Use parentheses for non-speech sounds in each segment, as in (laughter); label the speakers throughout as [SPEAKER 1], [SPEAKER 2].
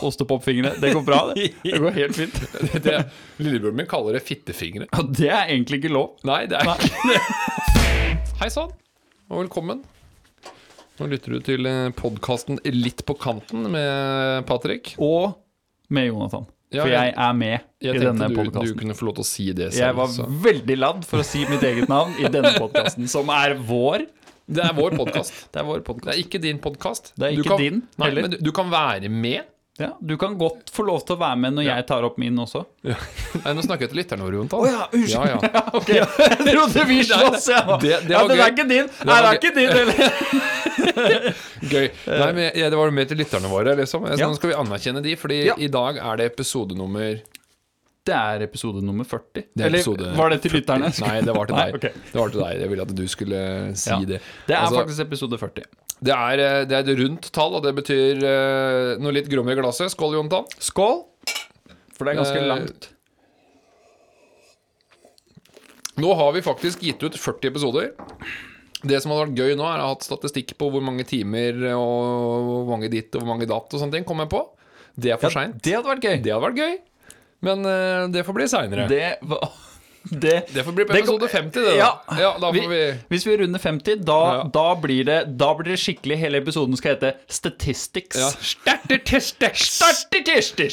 [SPEAKER 1] ostepopfingre. Det går bra,
[SPEAKER 2] (laughs)
[SPEAKER 1] det. Det går helt fint.
[SPEAKER 2] Det, det, lillebroren min kaller det fittefingre.
[SPEAKER 1] Og det er egentlig ikke lov.
[SPEAKER 2] Nei, det er ikke det. Hei sann, og velkommen. Nå lytter du til podkasten Litt på kanten med Patrick.
[SPEAKER 1] Og med Jonathan.
[SPEAKER 2] Ja,
[SPEAKER 1] for jeg
[SPEAKER 2] jeg-
[SPEAKER 1] er med
[SPEAKER 2] Jeg
[SPEAKER 1] i denne
[SPEAKER 2] tenkte du, du
[SPEAKER 1] podkasten.
[SPEAKER 2] kunne få lov til å si det selv.
[SPEAKER 1] Jeg var
[SPEAKER 2] så.
[SPEAKER 1] veldig ladd for å si mitt eget navn i denne
[SPEAKER 2] (laughs)
[SPEAKER 1] podkasten, som er vår.
[SPEAKER 2] Det er vår podkast.
[SPEAKER 1] Det er vår
[SPEAKER 2] Det
[SPEAKER 1] podkast.
[SPEAKER 2] er ikke din podkast.
[SPEAKER 1] Det er ikke din,
[SPEAKER 2] Nei,
[SPEAKER 1] heller.
[SPEAKER 2] men du, du kan være med.
[SPEAKER 1] Ja, du kan godt få lov til å være med når jeg tar opp min også.
[SPEAKER 2] Nei, nå snakker jeg til lytterne våre, Jontan.
[SPEAKER 1] Å ja, unnskyld.
[SPEAKER 2] Ja, ja.
[SPEAKER 1] Ok, (laughs) jeg trodde vi slåss, ja.
[SPEAKER 2] (laughs) det- det
[SPEAKER 1] ja.
[SPEAKER 2] var
[SPEAKER 1] Den er
[SPEAKER 2] gøy.
[SPEAKER 1] ikke din.
[SPEAKER 2] var
[SPEAKER 1] Nei, det er
[SPEAKER 2] gøy.
[SPEAKER 1] ikke din
[SPEAKER 2] (laughs)
[SPEAKER 1] heller.
[SPEAKER 2] Gøy.
[SPEAKER 1] (laughs)
[SPEAKER 2] Nei, men jeg, Det var mer til lytterne våre. liksom Så
[SPEAKER 1] Ja.
[SPEAKER 2] Nå skal vi anerkjenne de, Fordi
[SPEAKER 1] Ja.
[SPEAKER 2] i dag er det episode nummer
[SPEAKER 1] Det er episode nummer 40.
[SPEAKER 2] er
[SPEAKER 1] Eller
[SPEAKER 2] episode
[SPEAKER 1] var det til
[SPEAKER 2] 40.
[SPEAKER 1] lytterne?
[SPEAKER 2] Nei, det var til
[SPEAKER 1] (laughs) Nei,
[SPEAKER 2] deg.
[SPEAKER 1] ok.
[SPEAKER 2] Det var til deg Jeg ville at du skulle si
[SPEAKER 1] Ja.
[SPEAKER 2] det.
[SPEAKER 1] Det er
[SPEAKER 2] Altså,
[SPEAKER 1] faktisk episode 40.
[SPEAKER 2] det, er, eh, det er et rundt tall, og det betyr eh, noe litt grom i glasset. Skål, Jontan.
[SPEAKER 1] Skål! For det er ganske
[SPEAKER 2] Eh,
[SPEAKER 1] langt.
[SPEAKER 2] Nå har vi faktisk gitt ut 40 episoder. Det som hadde vært gøy nå, er å ha hatt statistikk på hvor mange timer og hvor mange ditt og hvor mange datt og sånne ting. Kom jeg på. Det er for
[SPEAKER 1] Ja,
[SPEAKER 2] seint.
[SPEAKER 1] det hadde vært gøy.
[SPEAKER 2] Det hadde vært gøy, men eh, det får bli seinere. Det,
[SPEAKER 1] Det var det,
[SPEAKER 2] får bli på
[SPEAKER 1] det kom-
[SPEAKER 2] episode 50, det. Da.
[SPEAKER 1] Ja.
[SPEAKER 2] da
[SPEAKER 1] vi,
[SPEAKER 2] får vi
[SPEAKER 1] Hvis vi runder 50, da,
[SPEAKER 2] Ja.
[SPEAKER 1] da, blir det, da blir det skikkelig Hele episoden skal hete Statistics.
[SPEAKER 2] ja.
[SPEAKER 1] Statistisk!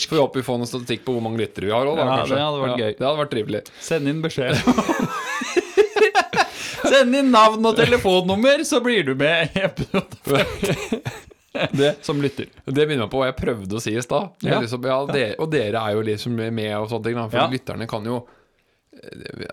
[SPEAKER 2] Får vi håpe vi får noen statistikk på hvor mange lyttere vi har òg, da.
[SPEAKER 1] Ja,
[SPEAKER 2] kanskje.
[SPEAKER 1] det hadde vært gøy.
[SPEAKER 2] Det hadde vært trivelig.
[SPEAKER 1] Send inn beskjed. Send inn navn og telefonnummer, så blir du med i episode 50. Som lytter.
[SPEAKER 2] Det minner meg på hva jeg prøvde å si i stad. Jeg
[SPEAKER 1] Ja.
[SPEAKER 2] har lyst til å- ja, dere- og dere er jo liksom med og sånne ting. da, For
[SPEAKER 1] Ja.
[SPEAKER 2] lytterne kan jo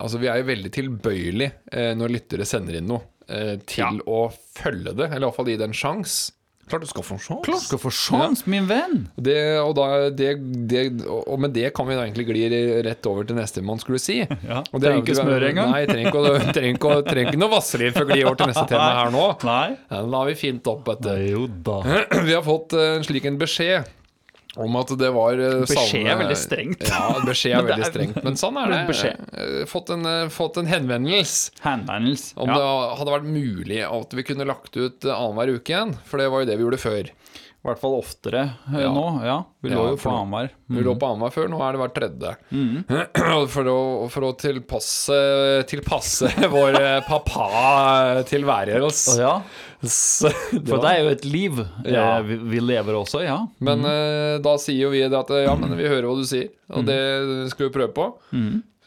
[SPEAKER 2] Altså, vi er jo veldig tilbøyelig eh, når lyttere sender inn noe, eh, til
[SPEAKER 1] Ja.
[SPEAKER 2] å følge det. Eller iallfall gi det en sjanse. Klart du skal få en
[SPEAKER 1] Klart
[SPEAKER 2] sjanse.
[SPEAKER 1] skal få sjans, min venn.
[SPEAKER 2] Det, og, da, det, det, og med det kan vi da egentlig gli rett over til neste man skulle
[SPEAKER 1] (laughs)
[SPEAKER 2] si.
[SPEAKER 1] Ja,
[SPEAKER 2] Og det
[SPEAKER 1] trenger
[SPEAKER 2] er jo
[SPEAKER 1] ikke smøre engang.
[SPEAKER 2] Nei, trenger ikke, å- trenger ikke, å- trenger ikke noe vaselin for å gli over til
[SPEAKER 1] (laughs)
[SPEAKER 2] neste tema her nå.
[SPEAKER 1] Nei.
[SPEAKER 2] Ja, Den la vi fint opp, vet du.
[SPEAKER 1] Jo da.
[SPEAKER 2] (clears throat) Vi har fått eh, en slik en beskjed om at det var eh,
[SPEAKER 1] Beskjed er
[SPEAKER 2] savne-
[SPEAKER 1] veldig strengt.
[SPEAKER 2] Ja, beskjed er
[SPEAKER 1] (laughs) Men det
[SPEAKER 2] veldig
[SPEAKER 1] er-
[SPEAKER 2] strengt, men sånn
[SPEAKER 1] (laughs)
[SPEAKER 2] er det.
[SPEAKER 1] Men beskjed.
[SPEAKER 2] Eh, Fått en, eh, fått en henvendelse
[SPEAKER 1] Handbandels.
[SPEAKER 2] om det hadde vært mulig at vi kunne lagt ut eh, annenhver uke igjen, for det var jo det vi gjorde før.
[SPEAKER 1] I hvert fall oftere eh,
[SPEAKER 2] Ja.
[SPEAKER 1] nå. Ja, vi lå
[SPEAKER 2] Ja,
[SPEAKER 1] jo
[SPEAKER 2] for
[SPEAKER 1] på
[SPEAKER 2] nå-
[SPEAKER 1] Hamar.
[SPEAKER 2] Vi lå på annenhver før, nå er det hver tredje.
[SPEAKER 1] Mhm.
[SPEAKER 2] (clears throat) For, å, for å tilpasse, tilpasse (laughs) vår eh,
[SPEAKER 1] (laughs)
[SPEAKER 2] pappa-tilværelse.
[SPEAKER 1] Ja,
[SPEAKER 2] Så (laughs) det
[SPEAKER 1] for
[SPEAKER 2] var-
[SPEAKER 1] det er jo et liv
[SPEAKER 2] Ja.
[SPEAKER 1] eh, vi, vi lever også, ja.
[SPEAKER 2] Men eh, da sier jo vi det at eh, ja, men vi hører hva du sier, og det skal vi prøve på.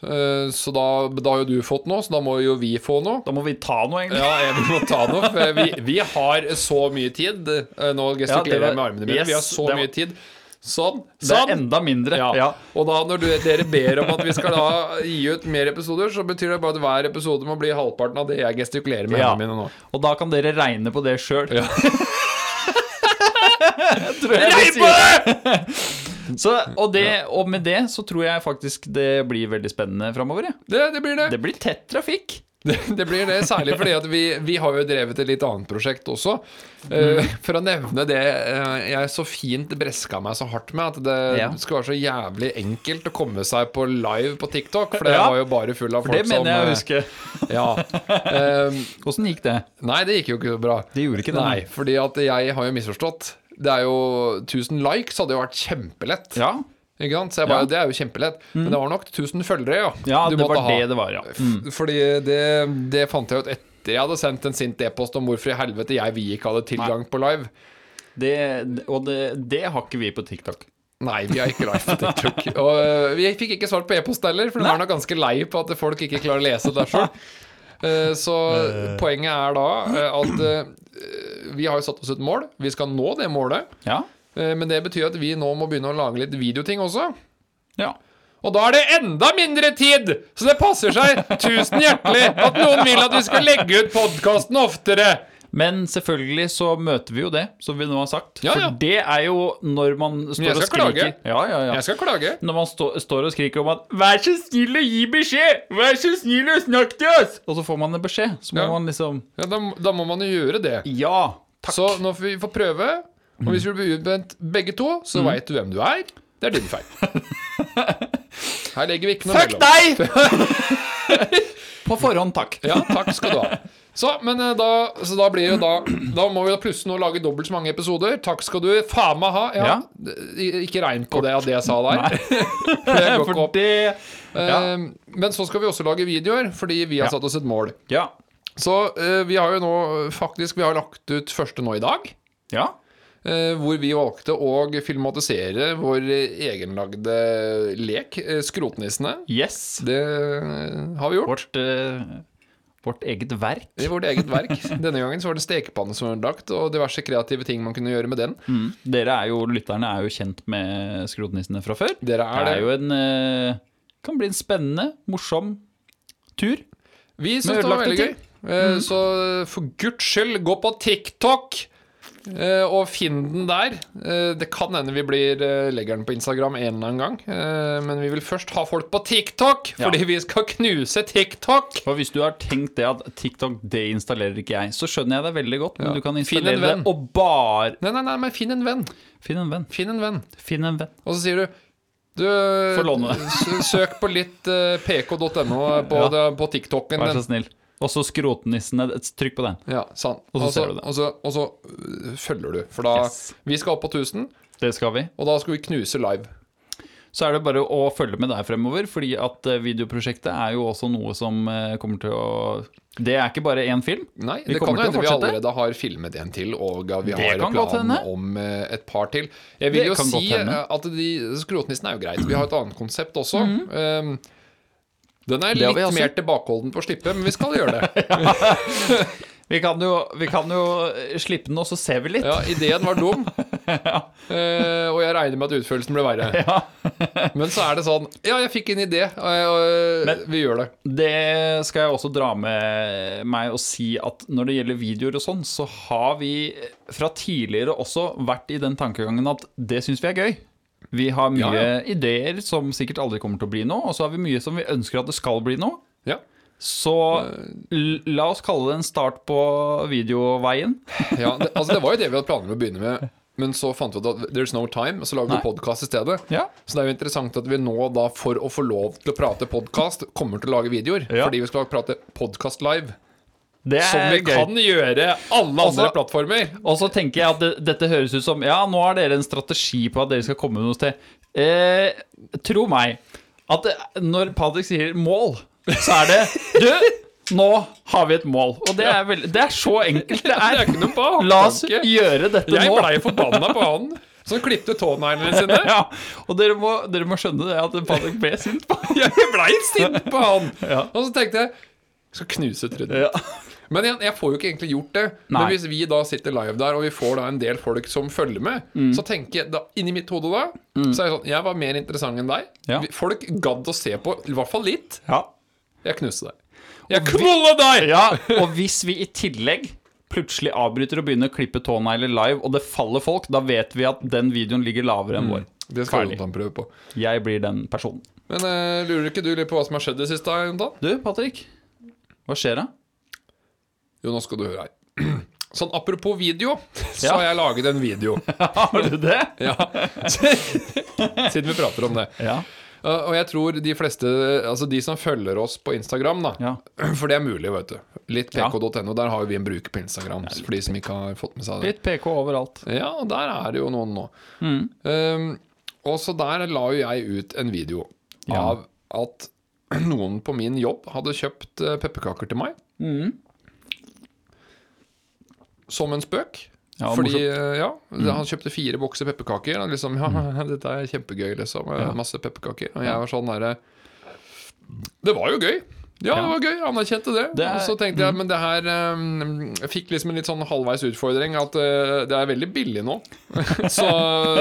[SPEAKER 2] Eh, så da, da har jo du fått noe, så da må jo vi få noe.
[SPEAKER 1] Da må vi ta noe, egentlig.
[SPEAKER 2] Ja, jeg må ta noe. For vi, vi har så mye tid. Eh, nå
[SPEAKER 1] det
[SPEAKER 2] gestikulerer
[SPEAKER 1] var-
[SPEAKER 2] jeg med armene mine.
[SPEAKER 1] yes,
[SPEAKER 2] vi har så
[SPEAKER 1] det var-
[SPEAKER 2] mye tid. Sånn.
[SPEAKER 1] Det er
[SPEAKER 2] Sånn.
[SPEAKER 1] enda mindre.
[SPEAKER 2] Ja.
[SPEAKER 1] Ja.
[SPEAKER 2] Og da når du, dere ber om at vi skal da gi ut mer episoder, så betyr det bare at hver episode må bli halvparten av det jeg gestikulerer med
[SPEAKER 1] Ja.
[SPEAKER 2] armene mine nå.
[SPEAKER 1] Og da kan dere regne på det sjøl. (laughs)
[SPEAKER 2] Ja.
[SPEAKER 1] Regn på det! (laughs) så, og det! Og med det så tror jeg faktisk det blir veldig spennende framover. Ja.
[SPEAKER 2] Det, det blir det.
[SPEAKER 1] Det blir tett trafikk.
[SPEAKER 2] Det, det blir det, særlig fordi at vi, vi har jo drevet et litt annet prosjekt også. Eh,
[SPEAKER 1] Mm.
[SPEAKER 2] for å nevne det eh, jeg så fint breska meg så hardt med, at det
[SPEAKER 1] Ja.
[SPEAKER 2] skulle være så jævlig enkelt å komme seg på live på TikTok. For det
[SPEAKER 1] Ja.
[SPEAKER 2] var jo bare full av
[SPEAKER 1] For det
[SPEAKER 2] folk
[SPEAKER 1] mener jeg å
[SPEAKER 2] som
[SPEAKER 1] huske.
[SPEAKER 2] eh, Ja. Eh,
[SPEAKER 1] Åssen gikk det?
[SPEAKER 2] nei, det gikk jo ikke så bra.
[SPEAKER 1] Det gjorde ikke det,
[SPEAKER 2] Nei,
[SPEAKER 1] nei.
[SPEAKER 2] fordi at jeg har jo misforstått. Det er jo 1000 likes hadde jo vært kjempelett.
[SPEAKER 1] Ja,
[SPEAKER 2] Ikke sant? Så jeg bare,
[SPEAKER 1] Ja. Mm.
[SPEAKER 2] det er jo kjempelett. Men det var nok 1000 følgere, ja.
[SPEAKER 1] ja
[SPEAKER 2] du
[SPEAKER 1] det
[SPEAKER 2] måtte
[SPEAKER 1] var
[SPEAKER 2] ha.
[SPEAKER 1] det det var, ja. Mm.
[SPEAKER 2] F- Fordi det, det fant jeg ut etter jeg hadde sendt en sint e-post om hvorfor i helvete jeg vi ikke hadde tilgang på live.
[SPEAKER 1] Det, og det, det har ikke vi på TikTok.
[SPEAKER 2] Nei, vi har ikke live på TikTok. Og øh, vi fikk ikke svart på e-post heller, for de var nok ganske lei på at folk ikke klarer å lese det sjøl. Så poenget er da øh, at øh, vi har jo satt oss et mål. Vi skal nå det målet.
[SPEAKER 1] Ja.
[SPEAKER 2] øh, Men det betyr at vi nå må begynne å lage litt videoting også.
[SPEAKER 1] ja.
[SPEAKER 2] Og da er det enda mindre tid! Så det passer seg tusen hjertelig at noen vil at vi skal legge ut podkasten oftere.
[SPEAKER 1] Men selvfølgelig så møter vi jo det, som vi nå har sagt.
[SPEAKER 2] Ja, ja.
[SPEAKER 1] For det er jo når man
[SPEAKER 2] Men jeg
[SPEAKER 1] står og
[SPEAKER 2] skal klage.
[SPEAKER 1] skriker Ja, ja, ja.
[SPEAKER 2] Jeg skal klage.
[SPEAKER 1] Når man stå, står og skriker om at 'vær så snill å gi beskjed', 'vær så snill å snakke til oss', og så får man en beskjed, så må
[SPEAKER 2] Ja.
[SPEAKER 1] man liksom
[SPEAKER 2] Ja, da, da må man jo gjøre det.
[SPEAKER 1] Ja. Takk.
[SPEAKER 2] Så nå får vi få prøve. Og hvis vi blir utbrent begge to, så
[SPEAKER 1] Mm.
[SPEAKER 2] vet veit du hvem du er. Det er din
[SPEAKER 1] (laughs)
[SPEAKER 2] feil. Her legger vi ikke noe
[SPEAKER 1] Fuck
[SPEAKER 2] (laughs) mellom.
[SPEAKER 1] deg! På forhånd, takk.
[SPEAKER 2] Ja, takk skal du ha. Så, men eh, da, så da blir det da Da må vi da plutselig nå lage dobbelt så mange episoder. Takk skal du faen meg ha. Ja,
[SPEAKER 1] Ja.
[SPEAKER 2] d- Ikke regn på det at det jeg sa der. (laughs) det går ikke
[SPEAKER 1] For
[SPEAKER 2] opp.
[SPEAKER 1] det
[SPEAKER 2] Eh, Men så skal vi også lage videoer, fordi vi har satt oss et mål.
[SPEAKER 1] Ja.
[SPEAKER 2] Så eh, vi har jo nå eh, faktisk Vi har lagt ut første nå i dag.
[SPEAKER 1] Ja.
[SPEAKER 2] eh, hvor vi valgte å filmatisere vår eh, egenlagde lek, eh, Skrotnissene.
[SPEAKER 1] Yes.
[SPEAKER 2] Det eh, har vi gjort.
[SPEAKER 1] Vårt, eh, vårt eget verk.
[SPEAKER 2] I vårt eget verk.
[SPEAKER 1] (laughs)
[SPEAKER 2] Denne gangen så var det stekepanne som var lagt, og diverse kreative ting man kunne gjøre med den.
[SPEAKER 1] Mm. Dere er jo, Lytterne er jo kjent med skrotnissene fra før.
[SPEAKER 2] Dere er det.
[SPEAKER 1] jo en eh, Kan bli en spennende, morsom tur.
[SPEAKER 2] Vi syns
[SPEAKER 1] Men
[SPEAKER 2] det var
[SPEAKER 1] ødelagte Mm.
[SPEAKER 2] veldig gøy. Eh, Så for guds skyld, gå på TikTok! eh, Og finn den der. Eh, Det kan hende vi blir eh, legger den på Instagram en eller annen gang. eh, Men vi vil først ha folk på TikTok,
[SPEAKER 1] Ja.
[SPEAKER 2] fordi vi skal knuse TikTok!
[SPEAKER 1] For Hvis du har tenkt det at TikTok det installerer ikke jeg, så skjønner jeg deg veldig godt. Men
[SPEAKER 2] Ja.
[SPEAKER 1] du kan
[SPEAKER 2] Finn en
[SPEAKER 1] installere det
[SPEAKER 2] venn.
[SPEAKER 1] og bare
[SPEAKER 2] Nei, nei, nei, men finn en venn.
[SPEAKER 1] Finn en venn.
[SPEAKER 2] Finn en venn.
[SPEAKER 1] Finn en venn.
[SPEAKER 2] Og så sier du du,
[SPEAKER 1] Få låne.
[SPEAKER 2] s- søk på litt eh, pk.no eh, på,
[SPEAKER 1] Ja.
[SPEAKER 2] det- på TikToken.
[SPEAKER 1] Vær
[SPEAKER 2] din.
[SPEAKER 1] så snill. Og så skrotnissene. Trykk på den.
[SPEAKER 2] Ja, sant.
[SPEAKER 1] Og så
[SPEAKER 2] Og så,
[SPEAKER 1] ser du det.
[SPEAKER 2] og så, og så øh, følger du. For da
[SPEAKER 1] Yes.
[SPEAKER 2] Vi skal opp på 1000,
[SPEAKER 1] Det skal vi.
[SPEAKER 2] og da skal vi knuse live.
[SPEAKER 1] Så er det bare å følge med der fremover, fordi at eh, videoprosjektet er jo også noe som eh, kommer til å Det er ikke bare én film.
[SPEAKER 2] Nei,
[SPEAKER 1] Vi
[SPEAKER 2] det kan
[SPEAKER 1] kommer
[SPEAKER 2] jo
[SPEAKER 1] til å
[SPEAKER 2] hende vi
[SPEAKER 1] fortsette.
[SPEAKER 2] allerede har filmet en til, og at vi
[SPEAKER 1] Det
[SPEAKER 2] har
[SPEAKER 1] kan godt
[SPEAKER 2] planen
[SPEAKER 1] hende.
[SPEAKER 2] om eh, et par til. Jeg vil
[SPEAKER 1] Det
[SPEAKER 2] jo
[SPEAKER 1] kan
[SPEAKER 2] si
[SPEAKER 1] godt hende.
[SPEAKER 2] eh, at de, Skrotnissen er jo greit. Vi har et annet konsept også. Um, den er
[SPEAKER 1] Mhm. Det har
[SPEAKER 2] litt
[SPEAKER 1] vi også.
[SPEAKER 2] mer tilbakeholden på å slippe, men vi skal gjøre det.
[SPEAKER 1] Vi kan jo, vi kan jo eh, slippe den, og så ser vi litt. (laughs)
[SPEAKER 2] Ja, Ideen var dum, eh, og jeg regner med at utførelsen ble verre. Men så er det sånn Ja, jeg fikk en idé, eh, og
[SPEAKER 1] Men-
[SPEAKER 2] vi gjør det.
[SPEAKER 1] Det skal jeg også dra med meg og si at når det gjelder videoer og sånn, så har vi fra tidligere også vært i den tankegangen at det syns vi er gøy. Vi har mye
[SPEAKER 2] Ja, ja.
[SPEAKER 1] ideer som sikkert aldri kommer til å bli noe, og så har vi mye som vi ønsker at det skal bli noe.
[SPEAKER 2] Ja.
[SPEAKER 1] Så
[SPEAKER 2] Eh.
[SPEAKER 1] l- la oss kalle det en start på videoveien.
[SPEAKER 2] Ja, det, altså det var jo det vi hadde planer om å begynne med, men så fant vi ut at there's no time, og så lager
[SPEAKER 1] Nei.
[SPEAKER 2] vi podkast i stedet.
[SPEAKER 1] Ja.
[SPEAKER 2] Så det er jo interessant at vi nå, da, for å få lov til å prate podkast, kommer til å lage videoer.
[SPEAKER 1] Ja.
[SPEAKER 2] Fordi vi skal prate podkast live.
[SPEAKER 1] Det er
[SPEAKER 2] Som vi
[SPEAKER 1] gøy.
[SPEAKER 2] kan gjøre alle andre
[SPEAKER 1] Altså-
[SPEAKER 2] plattformer.
[SPEAKER 1] Og så tenker jeg at det, dette høres ut som Ja, nå har dere en strategi på at dere skal komme noe sted. Eh, tro meg at det, når Patrick sier 'mål', så er det Du, nå har vi et mål. Og det er, veldig- det er så enkelt det
[SPEAKER 2] Det er
[SPEAKER 1] er.
[SPEAKER 2] ikke noe baktanke.
[SPEAKER 1] La oss gjøre dette nå.
[SPEAKER 2] Jeg blei forbanna på han som klipte tåneglene
[SPEAKER 1] (laughs)
[SPEAKER 2] sine.
[SPEAKER 1] ja, og dere må, dere må skjønne det at Patrick ble sint på
[SPEAKER 2] (laughs) Jeg blei sint på han.
[SPEAKER 1] (laughs) Ja.
[SPEAKER 2] Og så tenkte jeg skal knuse trynet.
[SPEAKER 1] ja.
[SPEAKER 2] Men jeg, jeg får jo ikke egentlig gjort det. Men
[SPEAKER 1] Nei.
[SPEAKER 2] hvis vi da sitter live der, og vi får da en del folk som følger med,
[SPEAKER 1] Mm.
[SPEAKER 2] så tenker jeg da, inni mitt hode da Så er jeg sånn Jeg var mer interessant enn deg.
[SPEAKER 1] Ja.
[SPEAKER 2] Vi- Folk gadd å se på, i hvert fall litt.
[SPEAKER 1] ja.
[SPEAKER 2] Jeg knuste deg. Jeg knulla deg!
[SPEAKER 1] Ja, og hvis vi i tillegg plutselig avbryter og begynner å klippe tånegler live, og det faller folk, da vet vi at den videoen ligger lavere
[SPEAKER 2] Mm.
[SPEAKER 1] enn vår.
[SPEAKER 2] Det skal
[SPEAKER 1] Ferdig.
[SPEAKER 2] Jonathan prøve på.
[SPEAKER 1] Jeg blir den personen.
[SPEAKER 2] Men eh, lurer ikke du litt på hva som har skjedd det siste? da, Jonathan?
[SPEAKER 1] Du, Patrick. Hva skjer da?
[SPEAKER 2] Jo, nå skal du høre her. (clears throat) Sånn apropos video, (laughs) så
[SPEAKER 1] Ja.
[SPEAKER 2] har jeg laget
[SPEAKER 1] (laughs)
[SPEAKER 2] en video.
[SPEAKER 1] (laughs) Har du det?
[SPEAKER 2] Ja. Siden vi prater om det.
[SPEAKER 1] Ja.
[SPEAKER 2] Uh, Og jeg tror de fleste, altså de som følger oss på Instagram, da
[SPEAKER 1] Ja.
[SPEAKER 2] (clears throat) For det er mulig, vet du. Litt
[SPEAKER 1] Ja.
[SPEAKER 2] pk.no. Der har jo vi en bruker på Instagram, for de som ikke har fått med seg det.
[SPEAKER 1] Litt PK overalt.
[SPEAKER 2] Ja, og der er det jo noen nå.
[SPEAKER 1] Mm.
[SPEAKER 2] Um, og så der la jo jeg ut en video
[SPEAKER 1] Ja.
[SPEAKER 2] av at (clears throat) noen på min jobb hadde kjøpt eh, pepperkaker til meg.
[SPEAKER 1] Mm.
[SPEAKER 2] Som en spøk.
[SPEAKER 1] Ja, Mm.
[SPEAKER 2] Fordi, eh, ja, Han kjøpte fire bokser pepperkaker. Og liksom, (laughs) ja, dette er kjempegøy, liksom. eh, Masse pepperkaker. Og jeg var sånn derre Det var jo gøy. Ja, det var gøy. Anerkjente det.
[SPEAKER 1] Det er- Mm.
[SPEAKER 2] og så tenkte jeg, men det her eh, Jeg fikk liksom en litt sånn halvveis utfordring. At eh, det er veldig billig nå. (laughs) Så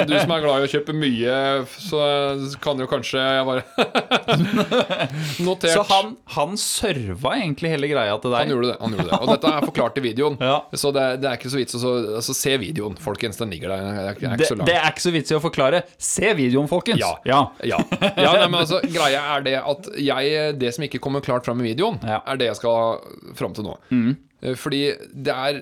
[SPEAKER 2] du som er glad i å kjøpe mye, så kan jo kanskje Jeg bare (laughs) Notert.
[SPEAKER 1] Så han, han serva egentlig hele greia til
[SPEAKER 2] Han
[SPEAKER 1] deg?
[SPEAKER 2] gjorde det. han gjorde det Og dette er forklart i videoen.
[SPEAKER 1] (laughs) Ja.
[SPEAKER 2] Så det, det er ikke så vits å så- altså, se videoen, folkens. Den ligger der. Det er, ikke- det
[SPEAKER 1] Det,
[SPEAKER 2] er ikke så langt.
[SPEAKER 1] det er ikke så vits i å forklare. Se videoen, folkens.
[SPEAKER 2] Ja.
[SPEAKER 1] ja.
[SPEAKER 2] Ja. ja nei, men altså, greia er det at jeg, det som ikke kommer klart fram i videoen,
[SPEAKER 1] Ja.
[SPEAKER 2] er det jeg skal fram til nå. Eh, Fordi det er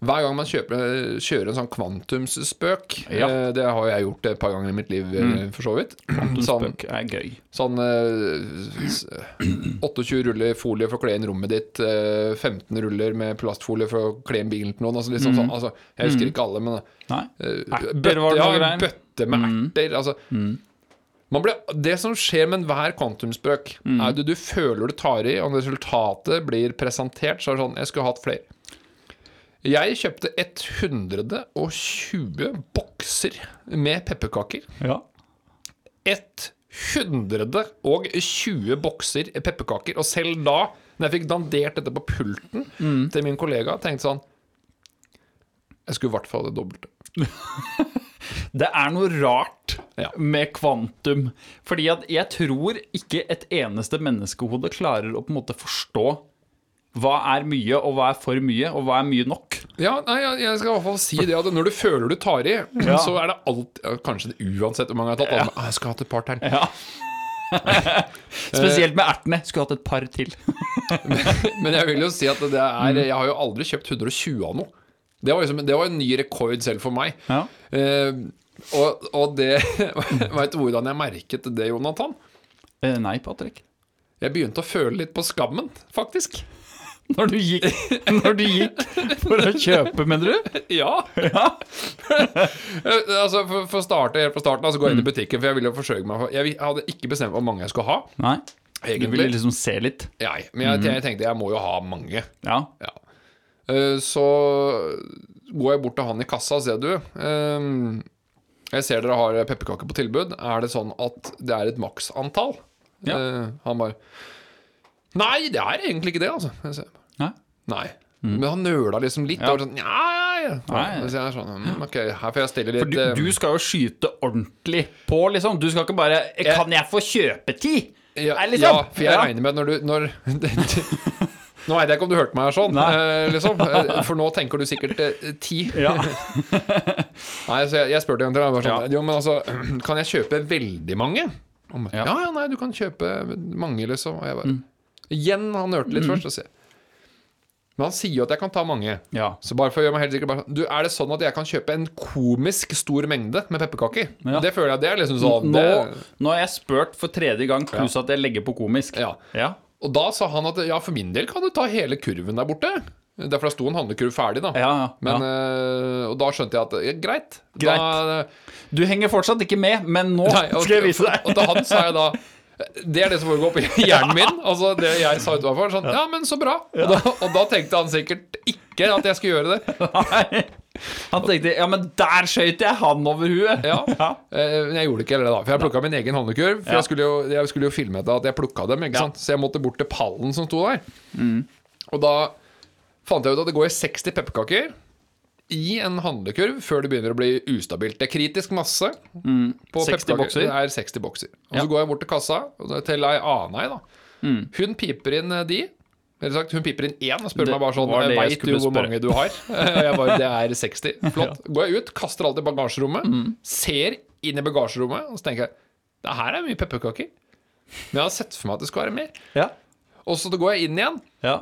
[SPEAKER 2] Hver gang man kjøper, kjører en sånn kvantumsspøk
[SPEAKER 1] Ja.
[SPEAKER 2] eh, Det har jo jeg gjort et par ganger i mitt liv, eh, for så vidt. Sånn,
[SPEAKER 1] Spøk er gøy.
[SPEAKER 2] sånn eh, s- 28 ruller folie for å kle inn rommet ditt, eh, 15 ruller med plastfolie for å kle inn bilen til noen. Altså, liksom sånn, altså, jeg husker ikke alle, men
[SPEAKER 1] Nei.
[SPEAKER 2] Eh,
[SPEAKER 1] Erter
[SPEAKER 2] bøtte,
[SPEAKER 1] var det
[SPEAKER 2] ja,
[SPEAKER 1] noe
[SPEAKER 2] en
[SPEAKER 1] greier. Mm.
[SPEAKER 2] bøtte med erter. Altså, man blir, det som skjer med enhver kvantumspøk,
[SPEAKER 1] Mm.
[SPEAKER 2] er at du, du føler du tar i, og når resultatet blir presentert, så er det sånn Jeg skulle hatt flere. Jeg kjøpte 120 bokser med pepperkaker.
[SPEAKER 1] Ja.
[SPEAKER 2] 120 bokser pepperkaker. Og selv da, når jeg fikk dandert dette på pulten
[SPEAKER 1] Mm.
[SPEAKER 2] til min kollega, tenkte jeg sånn Jeg skulle i hvert fall ha det dobbelte.
[SPEAKER 1] Det er noe rart
[SPEAKER 2] Ja.
[SPEAKER 1] med kvantum. Fordi at jeg tror ikke et eneste menneskehode klarer å på en måte forstå hva er mye, og hva er for mye, og hva er mye nok.
[SPEAKER 2] Ja, nei, jeg- jeg skal i hvert fall si det at når du føler du tar i, så er det alt ja, Kanskje det uansett hvor mange jeg har tatt. alle, «Ah, Jeg skulle hatt et par til.
[SPEAKER 1] Ja. (laughs) Spesielt med ertene. Skulle hatt et par til.
[SPEAKER 2] Men jeg vil jo si at det er Jeg har jo aldri kjøpt 120 av noe. Det var, liksom, det var en ny rekord selv for meg.
[SPEAKER 1] Ja.
[SPEAKER 2] Eh, og, og det (laughs) Veit du hvordan jeg merket det, Jonathan?
[SPEAKER 1] Eh, Nei, Patrick.
[SPEAKER 2] Jeg begynte å føle litt på skammen, faktisk.
[SPEAKER 1] Når du gikk, når du gikk for å kjøpe, mener du?
[SPEAKER 2] Ja. (laughs) altså, for, for å starte helt på starten, altså, gå inn i butikken, for jeg ville jo forsøke meg Jeg hadde ikke bestemt hvor mange jeg skulle ha,
[SPEAKER 1] Nei. Du
[SPEAKER 2] egentlig.
[SPEAKER 1] ville liksom se litt.
[SPEAKER 2] Nei, men jeg, jeg tenkte jeg må jo ha mange.
[SPEAKER 1] Ja.
[SPEAKER 2] Ja. Eh, Så går jeg bort til han i kassa og sier du ehm, Jeg ser dere har pepperkaker på tilbud. Er det sånn at det er et maksantall?
[SPEAKER 1] Ja.
[SPEAKER 2] Eh, han bare Nei, det er egentlig ikke det, altså. Jeg sier,
[SPEAKER 1] Nei.
[SPEAKER 2] Nei. Men han nøla liksom litt. Og var sånn, ja, ja, ja.
[SPEAKER 1] Mm. Nei.
[SPEAKER 2] Så sier jeg sånn, «Mm, ok, her får jeg stille litt
[SPEAKER 1] For du,
[SPEAKER 2] eh,
[SPEAKER 1] du skal jo skyte ordentlig på, liksom. Du skal ikke bare Kan jeg få kjøpe ti?
[SPEAKER 2] Ja,
[SPEAKER 1] Nei, liksom.
[SPEAKER 2] ja, for jeg regner med at når du når, (laughs) Nå veit jeg ikke om du hørte meg sånn, eh,
[SPEAKER 1] (laughs)
[SPEAKER 2] liksom. Eh, For nå tenker du sikkert eh, ti.
[SPEAKER 1] Ja.
[SPEAKER 2] (laughs) Nei, så jeg, jeg spurte en til. Jeg var sånn, Jo, men altså, (clears throat) kan jeg kjøpe veldig mange? Han ba,
[SPEAKER 1] Ja. Mm.
[SPEAKER 2] ja, ja, nei, du kan kjøpe mange, liksom. Og jeg bare Igjen, han hørte litt først. Og se. Men han sier jo at jeg kan ta mange.
[SPEAKER 1] Ja.
[SPEAKER 2] Så bare for å gjøre meg helt sikker bare, sånn, Du, Er det sånn at jeg kan kjøpe en komisk stor mengde med pepperkaker?
[SPEAKER 1] Ja.
[SPEAKER 2] Det føler jeg det er liksom sånn
[SPEAKER 1] Nå,
[SPEAKER 2] det,
[SPEAKER 1] nå har jeg spurt for tredje gang, pluss at jeg legger på komisk.
[SPEAKER 2] ja.
[SPEAKER 1] Ja.
[SPEAKER 2] Og da sa han at ja, for min del kan du ta hele kurven der borte. Derfor det sto en handlekurv ferdig, da.
[SPEAKER 1] Ja, ja,
[SPEAKER 2] Men, eh, og da skjønte jeg at ja, greit.
[SPEAKER 1] Greit.
[SPEAKER 2] Da,
[SPEAKER 1] Du henger fortsatt ikke med, men nå
[SPEAKER 2] Nei, og-
[SPEAKER 1] skal jeg vise deg.
[SPEAKER 2] Og til han sa jeg da Det er det som foregår på
[SPEAKER 1] (laughs)
[SPEAKER 2] hjernen min. Altså det jeg sa utenfor. Sånn, ja, men så bra. Og, da, og da tenkte han sikkert ikke at jeg skulle gjøre det.
[SPEAKER 1] Nei. (laughs) Han tenkte ja, men der skøyt jeg han over huet. (laughs)
[SPEAKER 2] Ja. Eh, Men jeg gjorde ikke heller det, da. For jeg plukka min egen handlekurv. For
[SPEAKER 1] Ja.
[SPEAKER 2] jeg, skulle jo, jeg skulle jo filme etter at jeg plukka dem, ikke sant? så jeg måtte bort til pallen som sto der.
[SPEAKER 1] Mm.
[SPEAKER 2] Og da fant jeg ut at det går 60 pepperkaker i en handlekurv før det begynner å bli ustabilt. Det er kritisk masse.
[SPEAKER 1] 60
[SPEAKER 2] På pepperkaker.
[SPEAKER 1] Mm. bokser.
[SPEAKER 2] Det er 60 bokser. Og
[SPEAKER 1] Ja. Mm.
[SPEAKER 2] så går jeg bort til kassa og da- til ei annen ei, da. Hun piper inn eh, de. Eller sagt, hun piper inn én og spør
[SPEAKER 1] Det
[SPEAKER 2] meg bare sånn
[SPEAKER 1] var det jeg
[SPEAKER 2] Veit du
[SPEAKER 1] skulle
[SPEAKER 2] hvor
[SPEAKER 1] spørre."
[SPEAKER 2] mange du har? (laughs) Og jeg bare Det er
[SPEAKER 1] (laughs)
[SPEAKER 2] 60. Flott. Går jeg ut, kaster alt i bagasjerommet,
[SPEAKER 1] Mm.
[SPEAKER 2] ser inn i bagasjerommet, og så tenker jeg Det her er mye pepperkaker. Men jeg har sett for meg at det skal være mer.
[SPEAKER 1] Ja.
[SPEAKER 2] Og så går jeg inn igjen,
[SPEAKER 1] Ja.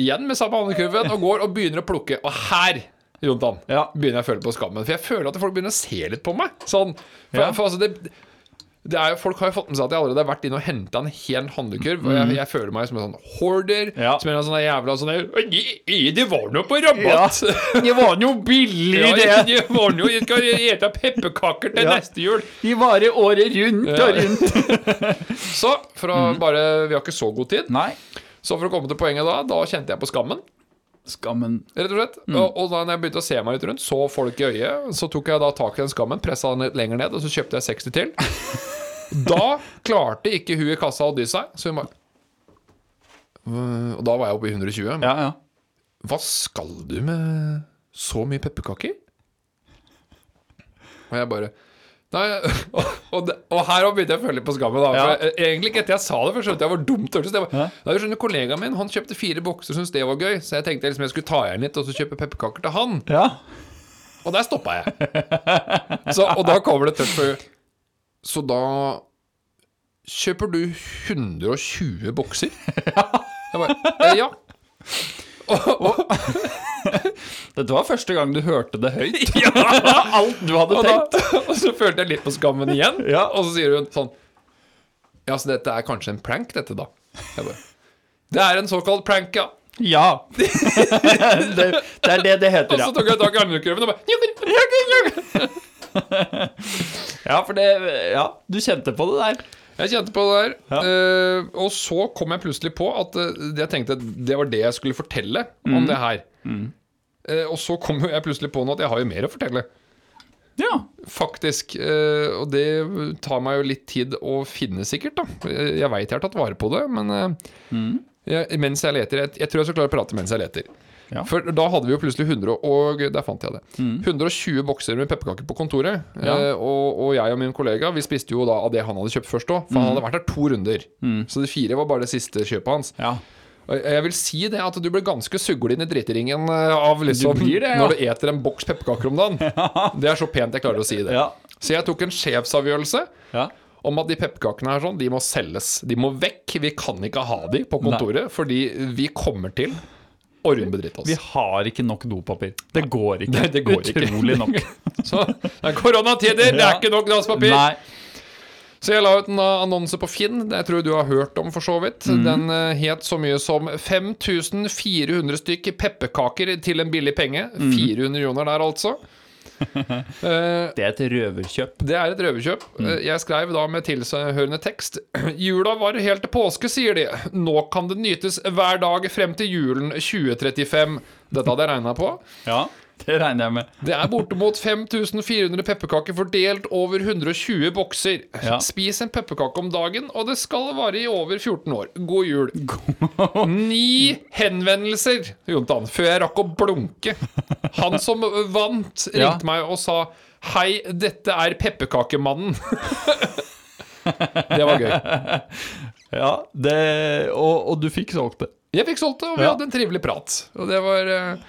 [SPEAKER 2] igjen med samme handlekurven, og går og begynner å plukke. Og her, Jontan,
[SPEAKER 1] Ja.
[SPEAKER 2] begynner jeg å føle på skammen. For jeg føler at folk begynner å se litt på meg. Sånn, for,
[SPEAKER 1] Ja.
[SPEAKER 2] for altså det, det er, jo- folk har jo fått med seg at jeg allerede har vært inne og henta en hel handlekurv. Og jeg, jeg føler meg som en sånn hoarder.
[SPEAKER 1] Mhm. Ja.
[SPEAKER 2] Som en sånn der jævla sånn der, «Gi- gi- Det var noe på rabatt!
[SPEAKER 1] (laughs) Det var jo billig,
[SPEAKER 2] (laughs) Ja,
[SPEAKER 1] det.
[SPEAKER 2] det var noe, jeg skal ete pepperkaker til
[SPEAKER 1] Ja.
[SPEAKER 2] neste jul.
[SPEAKER 1] De varer året rundt og rundt.
[SPEAKER 2] Så, for å bare Vi har ikke så god
[SPEAKER 1] (laughs)
[SPEAKER 2] tid.
[SPEAKER 1] Mhm. Nei.
[SPEAKER 2] Så for å komme til poenget da, da kjente jeg på skammen.
[SPEAKER 1] Skammen.
[SPEAKER 2] Rett og slett. Og, og da når jeg begynte å se meg litt rundt, så folk i øyet, så tok jeg da tak i den skammen, pressa den litt lenger ned, og så kjøpte jeg 60 til. da klarte ikke hun i kassa å dy seg, så hun bare Øh, Og da var jeg oppe i 120.
[SPEAKER 1] Ja, ja.
[SPEAKER 2] Hva skal du med så mye pepperkaker? Og jeg bare Nei, (laughs) og, og, det- og her også begynte jeg å føle litt på skammen. Da, for
[SPEAKER 1] Ja.
[SPEAKER 2] jeg, egentlig ikke etter jeg sa det, for jeg skjønte jeg var dumt. hørtes det. Jeg
[SPEAKER 1] Ja.
[SPEAKER 2] bare, Nei, du skjønner, Kollegaen min han kjøpte fire bokser, syntes det var gøy. Så jeg tenkte liksom jeg skulle ta igjen litt og så kjøpe pepperkaker til han.
[SPEAKER 1] Ja.
[SPEAKER 2] Og der stoppa jeg.
[SPEAKER 1] (laughs)
[SPEAKER 2] Så, og da kommer det tørt for Så da kjøper du 120
[SPEAKER 1] (laughs)
[SPEAKER 2] bokser? Jeg bare, «Eh, ja. Og, og,
[SPEAKER 1] Dette var første gang du hørte det høyt. Alt du hadde
[SPEAKER 2] Og,
[SPEAKER 1] tenkt.
[SPEAKER 2] da, (laughs) og så følte jeg litt på skammen igjen.
[SPEAKER 1] Ja.
[SPEAKER 2] Og så sier hun sånn Ja, så dette er kanskje en prank, dette, da? Jeg bare, det er en såkalt prank, ja.
[SPEAKER 1] Ja. (laughs) det, det er det det
[SPEAKER 2] Og
[SPEAKER 1] heter,
[SPEAKER 2] så
[SPEAKER 1] ja.
[SPEAKER 2] tok jeg tak i armkurven og bare «Njukken, njukken, njukken».
[SPEAKER 1] Ja, for det Ja, du kjente på det der.
[SPEAKER 2] Jeg kjente på det der.
[SPEAKER 1] Ja.
[SPEAKER 2] eh, og så kom jeg plutselig på at eh, jeg tenkte at det var det jeg skulle fortelle
[SPEAKER 1] Mm.
[SPEAKER 2] om det her. Eh, og så kom jo jeg plutselig på nå at jeg har jo mer å fortelle,
[SPEAKER 1] Ja.
[SPEAKER 2] faktisk. Eh, og det tar meg jo litt tid å finne, sikkert. da Eh, Jeg veit jeg har tatt vare på det, men eh,
[SPEAKER 1] Mm.
[SPEAKER 2] jeg, mens jeg leter jeg, jeg tror jeg skal klare å prate mens jeg leter.
[SPEAKER 1] Ja. Mm.
[SPEAKER 2] For da hadde vi jo plutselig 100 og- og Der fant jeg det. 120 bokser med pepperkaker på kontoret.
[SPEAKER 1] Ja.
[SPEAKER 2] Eh, og, og jeg og min kollega Vi spiste jo da av det han hadde kjøpt først òg. For
[SPEAKER 1] Mm.
[SPEAKER 2] han hadde vært der to runder. Så de fire var bare det siste kjøpet hans.
[SPEAKER 1] ja.
[SPEAKER 2] Og jeg- jeg vil si det at du blir ganske suglin i driteringen eh, av liksom
[SPEAKER 1] Du blir det, ja.
[SPEAKER 2] når du eter en boks pepperkaker
[SPEAKER 1] (laughs)
[SPEAKER 2] om dagen. Det er så pent jeg klarer å si det.
[SPEAKER 1] Ja.
[SPEAKER 2] Så jeg tok en sjefsavgjørelse
[SPEAKER 1] Ja.
[SPEAKER 2] om at de pepperkakene her sånn, de må selges. De må vekk. Vi kan ikke ha de på kontoret, fordi vi kommer til å rundbedrite
[SPEAKER 1] Vi
[SPEAKER 2] oss.
[SPEAKER 1] har ikke nok dopapir. Det går ikke.
[SPEAKER 2] det går ikke.
[SPEAKER 1] Utrolig nok.
[SPEAKER 2] (laughs) Så det er koronatider, det er
[SPEAKER 1] Ja.
[SPEAKER 2] ikke nok
[SPEAKER 1] (laughs)
[SPEAKER 2] dasspapir!
[SPEAKER 1] Nei.
[SPEAKER 2] Så jeg la ut en eh, annonse på Finn, det jeg tror du har hørt om for så vidt.
[SPEAKER 1] Mhm.
[SPEAKER 2] Den eh, het så mye som 5400 stykk pepperkaker til en billig penge.
[SPEAKER 1] Mhm.
[SPEAKER 2] 400 joner der, altså.
[SPEAKER 1] (laughs)
[SPEAKER 2] Eh,
[SPEAKER 1] Det er et røverkjøp.
[SPEAKER 2] Det er et røverkjøp. Eh, Jeg skrev da med tilhørende tekst. (clears throat) Jula var helt til påske, sier de. Nå kan det nytes hver dag frem til julen 2035. Dette hadde jeg regna på.
[SPEAKER 1] Ja, det regner jeg med.
[SPEAKER 2] Det er bortimot 5400 pepperkaker fordelt over 120 bokser.
[SPEAKER 1] Ja.
[SPEAKER 2] Spis en pepperkake om dagen, og det skal vare i over 14 år. God
[SPEAKER 1] (laughs)
[SPEAKER 2] jul. Ni henvendelser, Jontan, før jeg rakk å blunke. Han som vant, ringte
[SPEAKER 1] Ja.
[SPEAKER 2] meg og sa Hei, dette er pepperkakemannen. det var gøy.
[SPEAKER 1] Ja, det, og, og du fikk solgt det.
[SPEAKER 2] Jeg fikk solgt det, og vi
[SPEAKER 1] Ja.
[SPEAKER 2] hadde en trivelig prat. Og det var eh,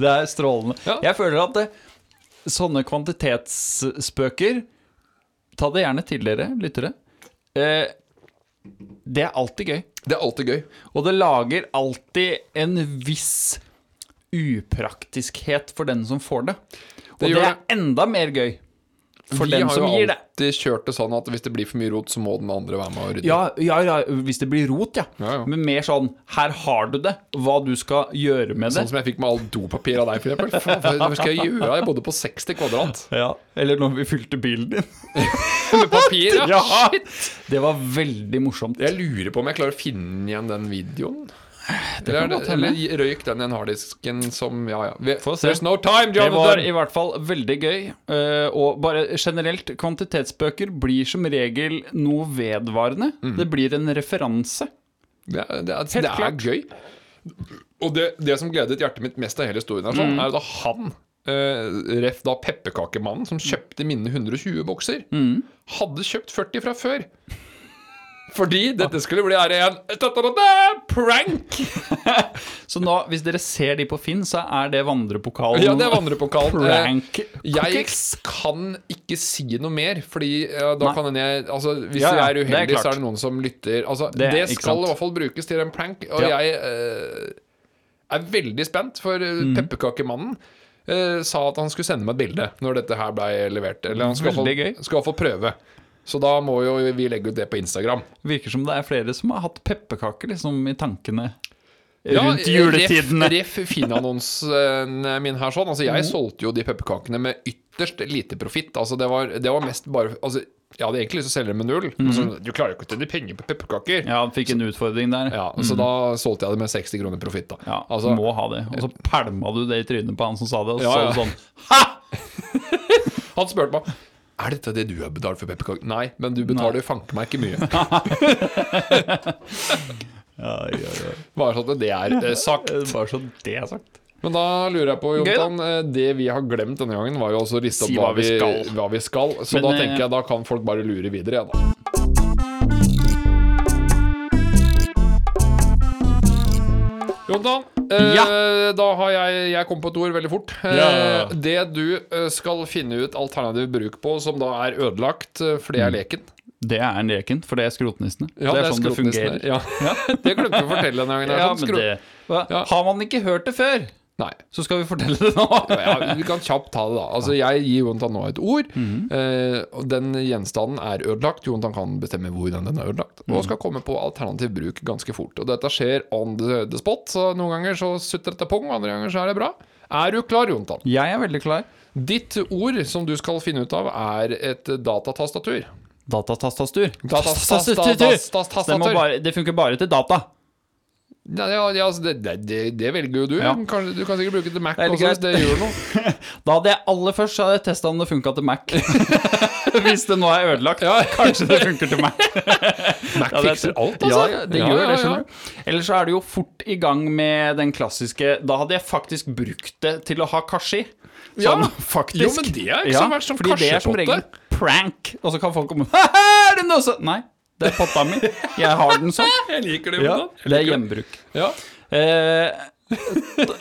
[SPEAKER 1] Det er strålende.
[SPEAKER 2] Ja.
[SPEAKER 1] Jeg føler at det, sånne kvantitetsspøker Ta det gjerne til dere, lyttere. Eh, det er alltid gøy.
[SPEAKER 2] Det er alltid gøy.
[SPEAKER 1] Og det lager alltid en viss upraktiskhet for den som får det. Og det,
[SPEAKER 2] gjør
[SPEAKER 1] er enda mer gøy for
[SPEAKER 2] vi
[SPEAKER 1] den
[SPEAKER 2] har
[SPEAKER 1] som
[SPEAKER 2] jo
[SPEAKER 1] gir det.
[SPEAKER 2] alltid kjørt det sånn at hvis det blir for mye rot, så må den andre være med og rydde.
[SPEAKER 1] Ja, ja, ja, hvis det blir rot, ja.
[SPEAKER 2] Ja, ja.
[SPEAKER 1] Men mer sånn her har du det, hva du skal gjøre med det.
[SPEAKER 2] Sånn som jeg fikk med all dopapir av deg, for
[SPEAKER 1] (laughs)
[SPEAKER 2] eksempel. Faen, Hva hva skal jeg gjøre? Jeg bodde på 60 kvadrat
[SPEAKER 1] Ja, Eller når vi fylte bilen din.
[SPEAKER 2] med papir. (laughs) Ja. Shit.
[SPEAKER 1] Det var veldig morsomt.
[SPEAKER 2] Jeg lurer på om jeg klarer å finne igjen den videoen. Eller,
[SPEAKER 1] kan
[SPEAKER 2] er
[SPEAKER 1] godt
[SPEAKER 2] det-
[SPEAKER 1] hende.
[SPEAKER 2] eller røyk den i en harddisken som Ja, ja. Vi,
[SPEAKER 1] se.
[SPEAKER 2] There's no time,
[SPEAKER 1] Det var
[SPEAKER 2] Jonathan!
[SPEAKER 1] i hvert fall veldig gøy. eh, Og bare generelt, kvantitetsbøker blir som regel noe vedvarende.
[SPEAKER 2] Mm.
[SPEAKER 1] Det blir en referanse.
[SPEAKER 2] Det, er- det, er- det er
[SPEAKER 1] klart.
[SPEAKER 2] gøy. Og det, det som gledet hjertet mitt mest av hele historien, her,
[SPEAKER 1] Mm.
[SPEAKER 2] sånn, er da han eh, Ref da pepperkakemannen som kjøpte mine 120 bokser,
[SPEAKER 1] Mm.
[SPEAKER 2] hadde kjøpt 40 fra før. Fordi
[SPEAKER 1] Ah.
[SPEAKER 2] dette skulle bli her igjen. Ta-ta-ta-ta! Prank!
[SPEAKER 1] Så nå, hvis dere ser de på Finn, så er det vandrepokalen.
[SPEAKER 2] Ja, det er vandrepokalen.
[SPEAKER 1] (laughs)
[SPEAKER 2] Eh,
[SPEAKER 1] Prank.
[SPEAKER 2] Jeg
[SPEAKER 1] cookies.
[SPEAKER 2] kan ikke si noe mer, fordi eh, da
[SPEAKER 1] Nei.
[SPEAKER 2] kan hende jeg altså, Hvis
[SPEAKER 1] Ja, ja,
[SPEAKER 2] jeg er
[SPEAKER 1] det er
[SPEAKER 2] uheldig, så
[SPEAKER 1] klart.
[SPEAKER 2] er det noen som lytter. Altså,
[SPEAKER 1] Det
[SPEAKER 2] det,
[SPEAKER 1] er ikke
[SPEAKER 2] skal
[SPEAKER 1] sant.
[SPEAKER 2] i hvert fall brukes til en prank, og
[SPEAKER 1] Ja.
[SPEAKER 2] jeg eh, er veldig spent, for eh,
[SPEAKER 1] Mm.
[SPEAKER 2] pepperkakemannen eh, sa at han skulle sende meg et bilde når dette her blei levert. Eller han skulle i hvert
[SPEAKER 1] Veldig
[SPEAKER 2] fall- skulle i hvert fall prøve. Så da må jo vi legge ut det på Instagram.
[SPEAKER 1] Virker som det er flere som har hatt pepperkaker liksom, i tankene
[SPEAKER 2] Ja, eh,
[SPEAKER 1] rundt juletidene. Mhm.
[SPEAKER 2] Ref, ref Finn-annonsen min her sånn. Altså, jeg solgte jo de pepperkakene med ytterst lite profitt. Altså, det var, det var mest bare Altså, jeg hadde egentlig lyst til å selge dem med null. Men så, du klarer jo ikke å tjene penger på pepperkaker. Ja.
[SPEAKER 1] Mhm. Ja, han fikk en utfordring der.
[SPEAKER 2] Så da solgte jeg det med 60 kroner profitt, da.
[SPEAKER 1] Ja,
[SPEAKER 2] altså,
[SPEAKER 1] Må ha det. Og så pælma du det i trynet på han som sa det, og så
[SPEAKER 2] Ja, ja.
[SPEAKER 1] sånn
[SPEAKER 2] han spurte meg Er dette det du har betalt for pepperkaker? Nei, men du betaler jo fanken meg ikke mye. (laughs)
[SPEAKER 1] ja, ja, ja.
[SPEAKER 2] Bare sånn at det er eh, sagt.
[SPEAKER 1] Bare så det er sagt.
[SPEAKER 2] Men da lurer jeg på,
[SPEAKER 1] Gøy, da.
[SPEAKER 2] Jontan, eh, det vi har glemt denne gangen, var jo også å riste opp
[SPEAKER 1] Si
[SPEAKER 2] hva
[SPEAKER 1] hva
[SPEAKER 2] vi
[SPEAKER 1] vi skal.
[SPEAKER 2] hva vi skal. Så
[SPEAKER 1] Men,
[SPEAKER 2] da
[SPEAKER 1] eh,
[SPEAKER 2] tenker jeg da kan folk bare lure videre, ja da. Jontan, eh, da har jeg, jeg kom på et ord veldig fort. Eh,
[SPEAKER 1] Ja.
[SPEAKER 2] Det du eh, skal finne ut alternativ bruk på, som da er ødelagt eh, fordi jeg er leken.
[SPEAKER 1] Det er en leken, for det er skrotnissene.
[SPEAKER 2] Ja,
[SPEAKER 1] Mm. det er sånn det
[SPEAKER 2] skrotnissene. (laughs)
[SPEAKER 1] fungerer.
[SPEAKER 2] Ja. det glemte vi å fortelle denne gangen. her,
[SPEAKER 1] Ja,
[SPEAKER 2] sånn
[SPEAKER 1] men
[SPEAKER 2] skrot-
[SPEAKER 1] det, hva,
[SPEAKER 2] Ja.
[SPEAKER 1] Har man ikke hørt det før?
[SPEAKER 2] Nei.
[SPEAKER 1] Så skal vi fortelle det nå.
[SPEAKER 2] Ja, vi kan kjapt ta det, da. Altså, jeg gir Jonathan nå et ord.
[SPEAKER 1] Mhm.
[SPEAKER 2] eh, og den gjenstanden er ødelagt. Jonathan kan bestemme hvordan den er ødelagt.
[SPEAKER 1] Mhm.
[SPEAKER 2] Og skal komme på alternativ bruk ganske fort. Og dette skjer on the, the spot, så noen ganger så sutter dette pung, andre ganger så er det bra. Er du klar, Jonathan?
[SPEAKER 1] Jeg er veldig klar.
[SPEAKER 2] Ditt ord som du skal finne ut av, er et datatastatur.
[SPEAKER 1] Datatastastur.
[SPEAKER 2] Datastastatur.
[SPEAKER 1] Det, må bare, det funker bare til data.
[SPEAKER 2] Ja, ja, ja, altså, det, det- det, det velger jo du.
[SPEAKER 1] Ja.
[SPEAKER 2] Kanskje, du kan sikkert bruke det til Mac
[SPEAKER 1] Det er
[SPEAKER 2] også,
[SPEAKER 1] litt
[SPEAKER 2] hvis
[SPEAKER 1] greit.
[SPEAKER 2] det gjør
[SPEAKER 1] (laughs)
[SPEAKER 2] noe.
[SPEAKER 1] Da hadde jeg aller først så hadde jeg testa om det funka til Mac. Hvis det nå er ødelagt. Kanskje det funker til Mac.
[SPEAKER 2] Mac
[SPEAKER 1] Ja, det-
[SPEAKER 2] fikser alt, altså.
[SPEAKER 1] Ja, det gjør det, skjønner du. Ellers så er du jo fort i gang med den klassiske Da hadde jeg faktisk brukt det til å ha kasji. Sånn,
[SPEAKER 2] Ja,
[SPEAKER 1] faktisk.
[SPEAKER 2] jo, men det har ikke så vært som
[SPEAKER 1] fordi det er som
[SPEAKER 2] kasjepotte.
[SPEAKER 1] regel prank, og så kan folk komme (laughs) «Haha, er den også? Nei, det er potta mi. Jeg har den
[SPEAKER 2] (laughs)
[SPEAKER 1] sånn.
[SPEAKER 2] Jeg liker det,
[SPEAKER 1] Ja,
[SPEAKER 2] Jonathan. Jeg
[SPEAKER 1] det er
[SPEAKER 2] liker
[SPEAKER 1] gjenbruk.
[SPEAKER 2] Ja.
[SPEAKER 1] Eh,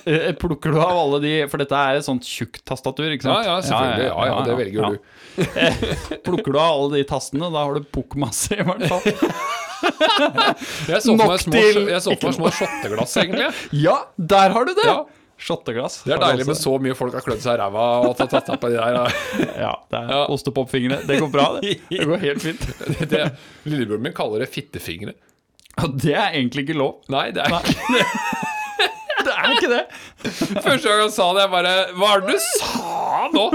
[SPEAKER 1] eh, plukker du av alle de For dette er et sånt tjukt tastatur, ikke
[SPEAKER 2] Ja,
[SPEAKER 1] sant?
[SPEAKER 2] ja, selvfølgelig. Ja, ja, det velger
[SPEAKER 1] ja.
[SPEAKER 2] du.
[SPEAKER 1] Plukker du av alle de tastene, da har du pukkmasse, i hvert fall.
[SPEAKER 2] Jeg så for
[SPEAKER 1] Nok
[SPEAKER 2] meg små,
[SPEAKER 1] til-
[SPEAKER 2] jeg så for meg små shotteglass, egentlig.
[SPEAKER 1] Ja, der har du det!
[SPEAKER 2] Ja.
[SPEAKER 1] Shotteglass.
[SPEAKER 2] Det er
[SPEAKER 1] har du
[SPEAKER 2] deilig
[SPEAKER 1] også.
[SPEAKER 2] med så mye folk har klødd seg i ræva og tatt tatt på de der.
[SPEAKER 1] Ja, det er
[SPEAKER 2] Ja.
[SPEAKER 1] ostepopfingre. Det går bra, det. (laughs) Det går helt fint.
[SPEAKER 2] (laughs) Det, det, lillebroren min kaller det fittefingre.
[SPEAKER 1] Og det er egentlig ikke (laughs) lov.
[SPEAKER 2] Nei, det er ikke
[SPEAKER 1] Det er ikke det.
[SPEAKER 2] Første gang han sa det, jeg bare Hva er det du sa nå?